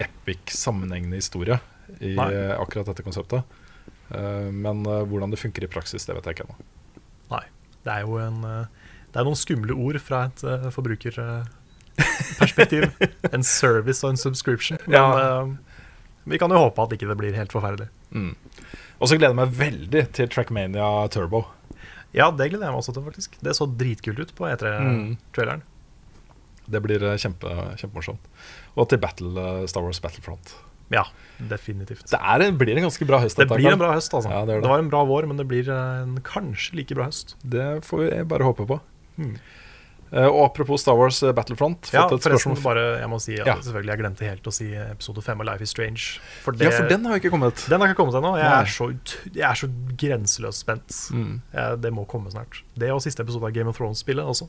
epic, sammenhengende historie i Nei. eh, akkurat dette konseptet. Eh, men eh, hvordan det funker i praksis, det vet jeg ikke ennå. Nei. Det er jo en eh, Det er noen skumle ord fra et forbrukerperspektiv. en service og en subscription. Men Ja. eh, vi kan jo håpe at ikke det blir helt forferdelig. Mm. Og så gleder jeg meg veldig til Trackmania Turbo. Ja, det gleder jeg meg også til, faktisk. Det så dritkult ut på E Mm. E3-traileren. Det blir eh, kjempe, kjempemorsomt. Og til Battle, eh, Star Wars Battlefront. Ja, definitivt. Det er, en- blir en ganske bra høst. Det dette her, blir en Karl. bra høst, altså. Ja, det, det gjør det. var en bra vår, men det blir eh, en kanskje like bra høst. Det får vi bare håpe på. Mm. Eh, og apropos Star Wars eh, Battlefront. Fått Ja, et forresten, spørsmål. bare, jeg må si at Ja. selvfølgelig jeg glemte helt å si episode fem av Life is Strange. For ja, for den har jo ikke kommet. den har ikke kommet ennå. Jeg, Nei. er så ut- jeg er så grenseløst spent. Mm. Eh, det må komme snart. Det og siste episode av Game of Thrones-spillet også.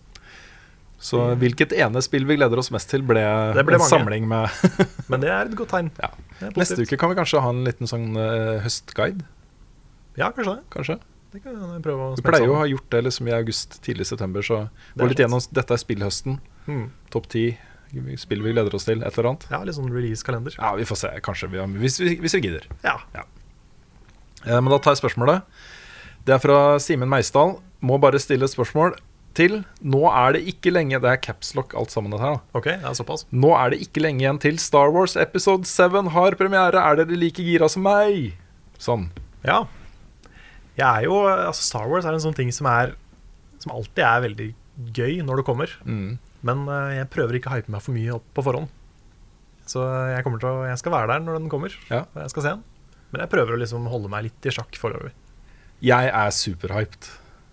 Så hvilket ene spill vi gleder oss mest til, ble, Det ble en mange. samling med Men det er et godt tegn. Ja. Det er Neste positivt. uke kan vi kanskje ha en liten sånn eh, høstguide, Ja, kanskje det. kanskje? Det kan jeg prøve å Vi spille pleier jo å sammen. ha gjort det liksom i august, tidlig september, så er gå litt sant. gjennom Dette er spillhøsten. Mm. Topp ti spill vi gleder oss til. Et eller annet. Ja, litt sånn release-kalender. Ja, vi får se. Kanskje. Vi, hvis, vi, hvis vi gidder. Ja. Eh, Men da tar jeg spørsmålet. Det er fra Simen Meisdal. Må bare stille et spørsmål til. Nå er det ikke lenge Det er capslock alt sammen dette her. da. OK, det er såpass. Nå er det ikke lenge igjen til Star Wars episode 7 har premiere. Er dere like gira som meg? Sånn. Ja. Jeg er jo Altså, Star Wars er en sånn ting som er Som alltid er veldig gøy når det kommer. Mm. Men eh, jeg prøver ikke å hype meg for mye opp på forhånd. Så eh, jeg, kommer til å, jeg skal være der når den kommer. Ja. Og jeg skal se den. Men jeg prøver å liksom holde meg litt i sjakk foreløpig. Jeg er superhyped.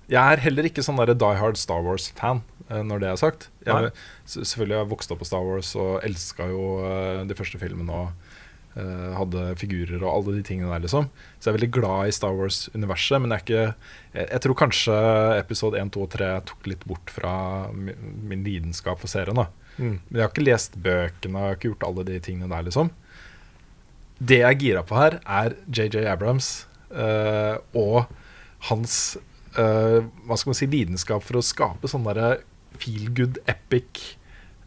Jeg er heller ikke sånn der Die Hard Star Wars-fan, eh, når det er sagt. Nei. Jeg, s- selvfølgelig har jeg vokst opp på Star Wars og elska jo eh, de første filmene og eh, hadde figurer og alle de tingene der, liksom. Så jeg er veldig glad i Star Wars-universet, men jeg er ikke jeg, jeg tror kanskje episode 1, 2 og 3 tok litt bort fra min, min lidenskap for serien, da. Men jeg har ikke lest bøkene, jeg har ikke gjort alle de tingene der, liksom. Det jeg er gira på her, er JJ Abrams eh, og hans eh, hva skal man si, lidenskap for å skape sånne der feel good, epic,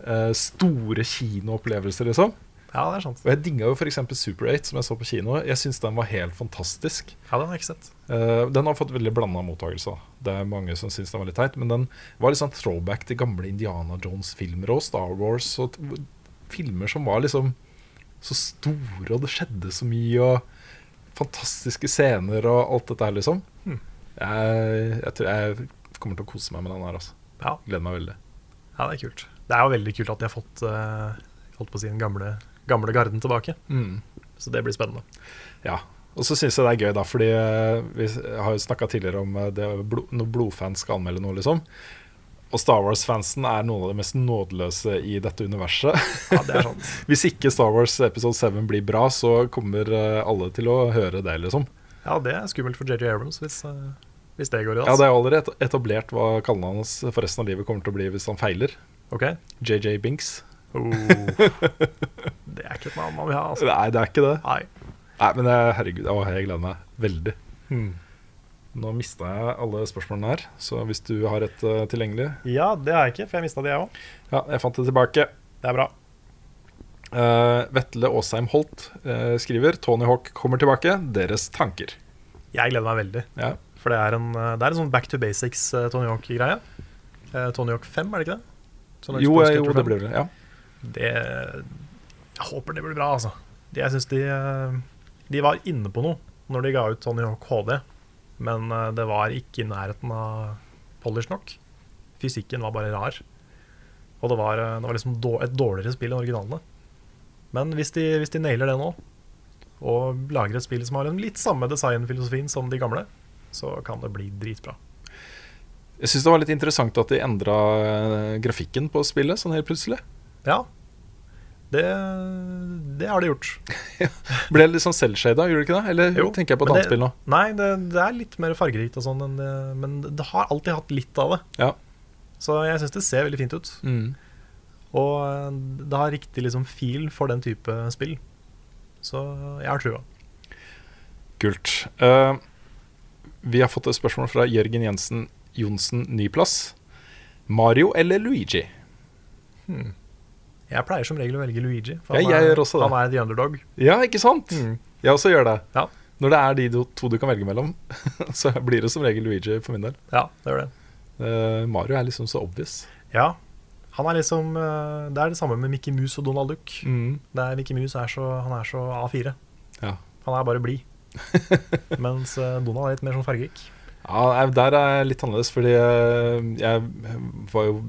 eh, store kinoopplevelser, liksom. Ja, det er sant. Og jeg digga jo f.eks. Super 8, som jeg så på kino. Jeg syns den var helt fantastisk. Ja, den har jeg ikke sett. Eh, den har fått veldig blanda mottakelse. Det er mange som syns den var litt teit, men den var litt sånn throwback til gamle Indiana Jones-filmer og Star Wars og t filmer som var liksom så store, og det skjedde så mye, og fantastiske scener og alt dette her, liksom. Hmm. Jeg, jeg tror jeg kommer til å kose meg med den her, altså. Ja. Gleder meg veldig. ja, det er kult. Det er jo veldig kult at de har fått eh, holdt på å si den gamle, gamle garden tilbake. Så det blir spennende. Ja. Og så syns jeg det er gøy, da, fordi eh, vi s- har jo snakka tidligere om eh, det blo- når blodfans skal anmelde noe, liksom. Og Star Wars-fansen er noen av de mest nådeløse i dette universet. Ja, det er sant. Hvis ikke Star Wars episode 7 blir bra, så kommer eh, alle til å høre det, liksom. Ja, det er skummelt for JJ Abrams hvis, eh, hvis det går i Ja, dass. det er jo allerede et- etablert hva kallenavnet hans for resten av livet kommer til å bli hvis han feiler. Ok, JJ Binks. Oh. Det er ikke et navn man vil ha, altså. Nei, det er ikke det. Nei. Nei, men jeg, herregud, å, jeg gleder meg veldig. Hmm. Nå mista jeg alle spørsmålene her, så hvis du har et eh, tilgjengelig Ja, det har jeg ikke, for jeg mista det, jeg òg. Ja, jeg fant det tilbake. Det er bra. Eh, Vetle Aasheim Holt eh, skriver Tony Hawk kommer tilbake. Deres tanker. Jeg gleder meg veldig. Ja. For det er en, eh, det er en sånn back to basics eh, Tony Hawk-greie. Eh, Tony Hawk 5, er det ikke det? Sånn Jo, Xbox eh, jo, Skater det 5. blir det. Ja. Det Jeg håper det blir bra, altså. De, jeg syns de eh, De var inne på noe når de ga ut Tony Hawk HD, men eh, det var ikke i nærheten av polish nok. Fysikken var bare rar. Og det var, eh, det var liksom dår- et dårligere spill enn originalene. Men hvis de, hvis de nailer det nå, og lager et spill som har en litt samme designfilosofien som de gamle, så kan det bli dritbra. Jeg syns det var litt interessant at de endra eh, grafikken på spillet sånn helt plutselig. Ja. Det, det har de gjort. Ble litt sånn selvshada, gjorde det ikke det? Eller Jo, tenker jeg på et men annet det- spill nå? Nei, det, det er litt mer fargerikt og sånn, enn det- men det har alltid hatt litt av det. Ja. Så jeg syns det ser veldig fint ut. Mm. Og eh, det har riktig liksom feel for den type spill. Så jeg har trua. Kult. Eh, vi har fått et spørsmål fra Jørgen Jensen Johnsen Nyplass. Mario eller Luigi? Jeg pleier som regel å velge Luigi, for Ja, han, jeg er, gjør også det. han er the underdog. Ja, ikke sant? Jeg også gjør det. Mm. Ja. Når det er de do- to du kan velge mellom, så blir det som regel Luigi for min del. Ja, det gjør det. Eh, Mario er liksom så obvious. Ja, han er liksom eh, Det er det samme med Mickey Mouse og Donald Duck. Det er, Mickey Mouse er så, han er så A4. Ja. Han er bare blid. Mens eh, Donald er litt mer sånn fargerik. Ja, nei, Der er jeg litt annerledes, fordi eh, jeg var jo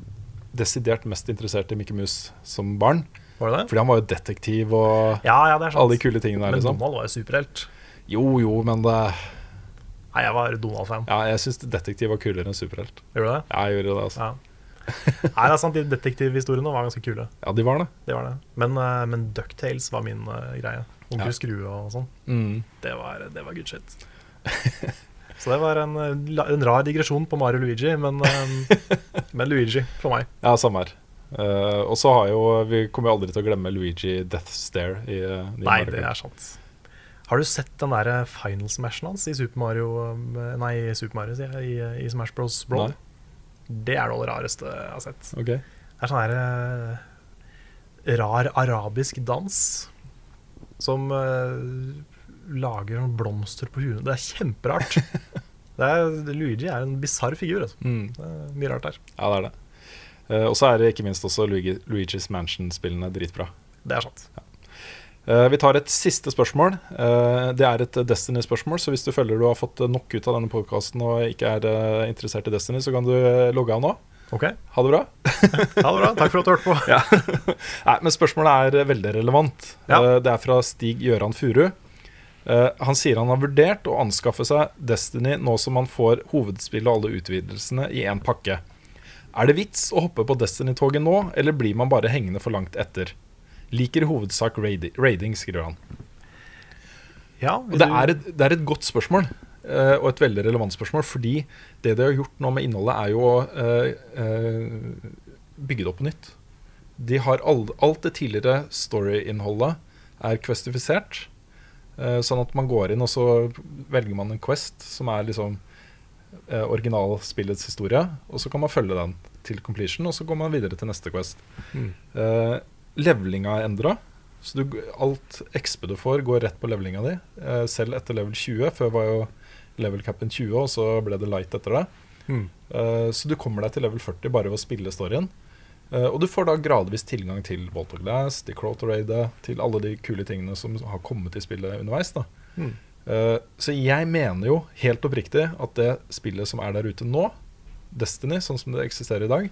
desidert mest interessert i Mickey Mouse som barn. Var det det? Fordi han var jo detektiv og Ja, ja, det er sant. alle de kule tingene der, Men liksom. Donald var jo superhelt. Jo, jo, men det, Nei, jeg var Donald-fan. ja, jeg syns detektiv var kulere enn superhelt. Gjorde du det? Ja, jeg gjorde det, altså. Ja. Nei, det er sant, de detektivhistoriene var ganske kule. Ja, de var det. Det var det. Men, eh, men Ducktales var min eh, greie. Onkel Ja. Skrue og sånn. Mm. Det var, det var good shit. Så det var en, eh, la- en rar digresjon på Mario Luigi, men, eh, men Luigi for meg. Ja, samme her. Eh, og så har jo Vi kommer jo aldri til å glemme Luigi Death Stare. I, eh, i Nei, Mario det Kart. er sant. Har du sett den der eh, final smashen hans i Super Mario eh, Nei, i Super Mario, sier jeg, i, i Smash Bros. Brawl? Nei. Det er noe av det rareste jeg har sett. Ok. Det er sånn her eh, rar arabisk dans som eh, lager sånn blomster på huet. Det er kjemperart. Det er, Luigi er en bisarr figur. Altså. Mm. Det er mye rart der. Ja, det er det. Eh, og så er det ikke minst også Luigi, Luigi's Mansion-spillene dritbra. Det er sant. Eh, vi tar et siste spørsmål. Eh, det er et Destiny-spørsmål, så hvis du føler du har fått nok ut av denne podkasten og ikke er eh, interessert i Destiny, så kan du eh, logge av nå. Ok, ha Ha det bra. det bra. Takk for at du hørte på. Nei, men spørsmålet er eh, veldig relevant. Ja. Eh, Det er fra Stig Gøran Furu. Eh, Han sier han har vurdert å anskaffe seg Destiny nå som han får hovedspillet og alle utvidelsene i én pakke. Er det vits å hoppe på Destiny-toget nå, eller blir man bare hengende for langt etter? Liker i hovedsak raidi- raiding, skriver han. Ja, Og det er et, det er et godt spørsmål, eh, og et veldig relevant spørsmål, fordi det de har gjort nå med innholdet, er jo å eh, eh, bygge det opp på nytt. De har all, alt det tidligere story-innholdet er questifisert, eh, sånn at man går inn og så velger man en quest som er liksom eh, originalspillets historie, og så kan man følge den til completion, og så går man videre til neste quest. Mm. Eh, levelinga er endra. Så du, alt XP du får, går rett på levelinga di. Eh, selv etter level 20. Før var jo level capen 20, og så ble det light etter det. Mm. Eh, så du kommer deg til level 40 bare ved å spille storyen. Eh, og du får da gradvis tilgang til Vault of Glass, til Crotoradet, til alle de kule tingene som har kommet i spillet underveis. da. Mm. Eh, så jeg mener jo helt oppriktig at det spillet som er der ute nå, Destiny, sånn som det eksisterer i dag,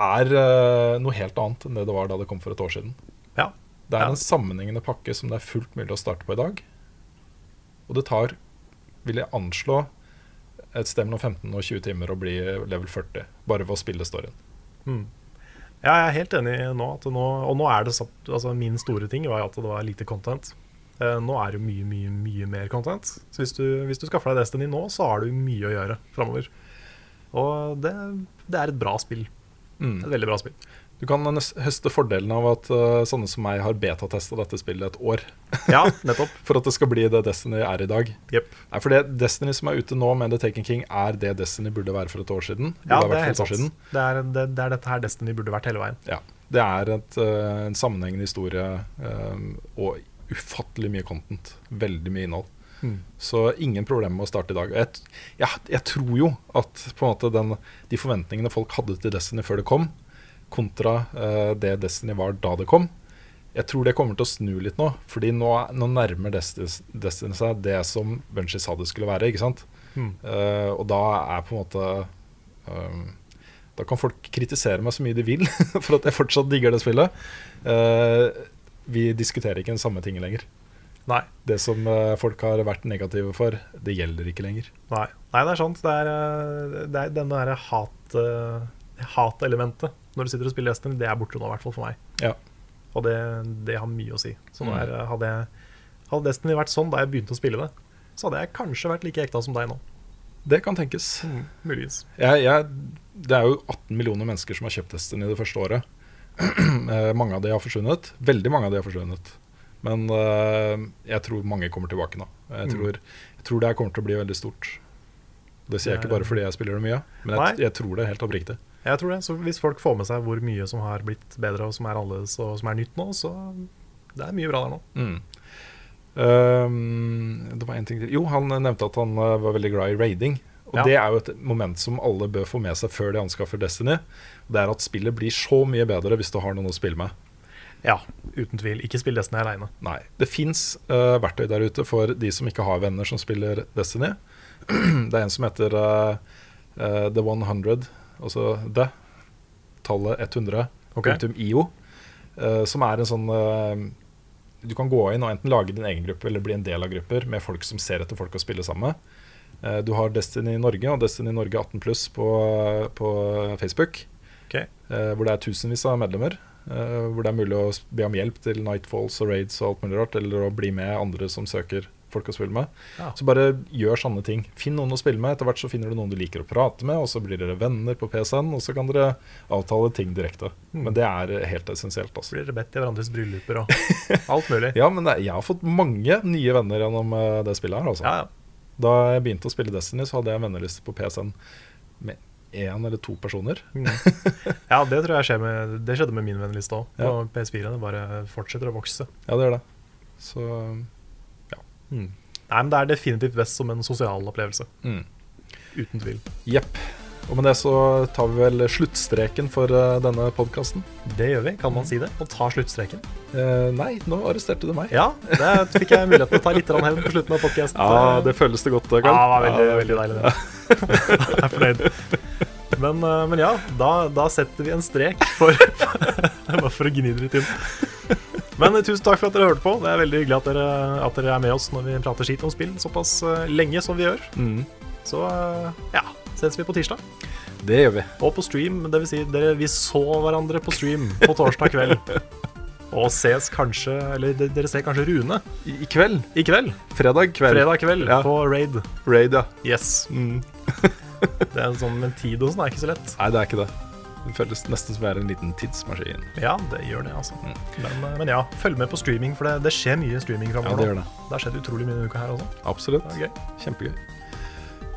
er eh, noe helt annet enn det det var da det kom for et år siden. Ja. Det er Ja. en sammenhengende pakke som det er fullt mulig å starte på i dag. Og det tar, vil jeg anslå, et sted mellom 15 og 20 timer å bli level 40. Bare ved å spille storyen. Ja, jeg er helt enig nå. At nå og nå er det satt, altså Min store ting var jo at det var lite content. Eh, nå er det jo mye, mye mye mer content. Så hvis du, hvis du skaffer deg Destiny nå, så har du mye å gjøre framover. Og det, det er et bra spill. Mm. Det er Et veldig bra spill. Du kan nes- høste fordelen av at eh, sånne som meg har betatesta dette spillet et år. Ja, nettopp. For at det skal bli det Destiny er i dag. Jep. Nei, for det Destiny som er ute nå med The Taken King, er det Destiny burde være for et år siden. Burde Ja, ha det vært er helt for et år sant. Det er, det, det er dette her Destiny burde vært hele veien. Ja. Det er et, eh, en sammenhengende historie eh, og ufattelig mye content. Veldig mye innhold. Mm. Så ingen problemer med å starte i dag. Og Jeg, t- jeg, jeg tror jo at på en måte den, de forventningene folk hadde til Destiny før det kom, kontra eh, det Destiny var da det kom, jeg tror det kommer til å snu litt nå. Fordi nå, er- nå nærmer Destiny, Destiny seg det som Bunchie sa det skulle være. ikke sant? Mm. Eh, og da er på en måte eh, Da kan folk kritisere meg så mye de vil for at jeg fortsatt digger det spillet. Eh, vi diskuterer ikke den samme tingen lenger. Nei. Det som eh, folk har vært negative for, det gjelder ikke lenger. Nei. Nei, det er sant. Det er, eh, det er denne derre hat, eh, hatelementet når du sitter og spiller Destiny, det er borte nå, i hvert fall for meg. Ja. Og det, det har mye å si. Så nå Mm. er, eh, hadde, jeg, hadde Destiny vært sånn da jeg begynte å spille det, så hadde jeg kanskje vært like ekta som deg nå. Det kan tenkes. Mm. Muligens. Jeg, jeg, det er jo 18 millioner mennesker som har kjøpt Destiny det første året. Eh, mange av de har forsvunnet. Veldig mange av de har forsvunnet. Men eh, jeg tror mange kommer tilbake nå. Jeg Mm. tror, jeg tror det her kommer til å bli veldig stort. Det sier jeg ikke Det er- bare fordi jeg spiller det mye, men Nei. jeg, jeg tror det helt oppriktig. Jeg tror det. Så hvis folk får med seg hvor mye som har blitt bedre, og som er annerledes, og som er nytt nå, så det er mye bra der nå. Mm. Ehm, det var en ting til Jo, han nevnte at han eh, var veldig glad i raiding. Og Ja. Det er jo et moment som alle bør få med seg før de anskaffer Destiny. Det er at spillet blir så mye bedre hvis du har noen å spille med. Ja, uten tvil. Ikke spill Destiny aleine. Nei. Det fins verktøy der ute for de som ikke har venner som spiller Destiny. det er en som heter eh, eh, The 100, altså The, tallet 100, Ok. punktum IO, eh, som er en sånn eh, Du kan gå inn og enten lage din egen gruppe eller bli en del av grupper med folk som ser etter folk å spille sammen med. Eh, du har Destiny Norge og Destiny Norge 18 pluss på, på Facebook. Ok. Eh, hvor det er tusenvis av medlemmer. eh, hvor det er mulig å s- be om hjelp til Nightfalls og raids og alt mulig rart. Eller å bli med andre som søker folk å spille med. Ja. Så bare gjør sånne ting. Finn noen å spille med. Etter hvert så finner du noen du liker å prate med, og så blir dere venner på PC-en, og så kan dere avtale ting direkte. Mm. Men det er helt essensielt, altså. Blir dere bedt i hverandres brylluper og alt mulig. Ja, men det, jeg har fått mange nye venner gjennom eh, det spillet her, altså. Ja, ja. Da jeg begynte å spille Destiny, så hadde jeg en venneliste på PC-en med én eller to personer. Ja, det tror jeg skjer med, det skjedde med min venneliste òg. På Ja. PS4. Det bare fortsetter å vokse. Ja, det gjør det. Så ja. Mm. Nei, men Det er definitivt best som en sosial opplevelse. Mm. Uten tvil. Jepp. Og med det så tar vi vel sluttstreken for eh, denne podkasten. Det gjør vi, kan man si det. Mm. Og ta sluttstreken. Eh, nei, nå arresterte du meg. Ja, der fikk jeg muligheten til å ta litt grann hevn på slutten av podkasten. Ja, det føles det godt, Karl. Ja, Ah. det var veldig, veldig deilig. Det. Jeg er fornøyd. Men, eh, men ja, da, da setter vi en strek for Bare for å gni det litt inn. Men eh, tusen takk for at dere hørte på. Det er veldig hyggelig at dere, at dere er med oss når vi prater skit om spill såpass eh, lenge som vi gjør. Mm, Så eh, ja, ses vi på tirsdag. det gjør vi. Og på stream, det vil si dere, vi så hverandre på stream på torsdag kveld. Og ses kanskje, eller de- dere ser kanskje Rune I, i kveld. i kveld. Fredag kveld. Fredag kveld Ja. på Raid. Raid, ja. Yes. Mm. Det er en sånn, Men tid og sånn er ikke så lett. Nei, det er ikke det. Det føles nesten som å være en liten tidsmaskin. Ja, det gjør det, altså. Men, eh, men ja, følg med på streaming, for det, det skjer mye streaming Ja, framover. det gjør det. det har skjedd utrolig mye denne uka her også. Absolutt. Det er gøy. Kjempegøy.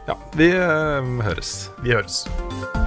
Ja, vi eh, høres. Vi høres.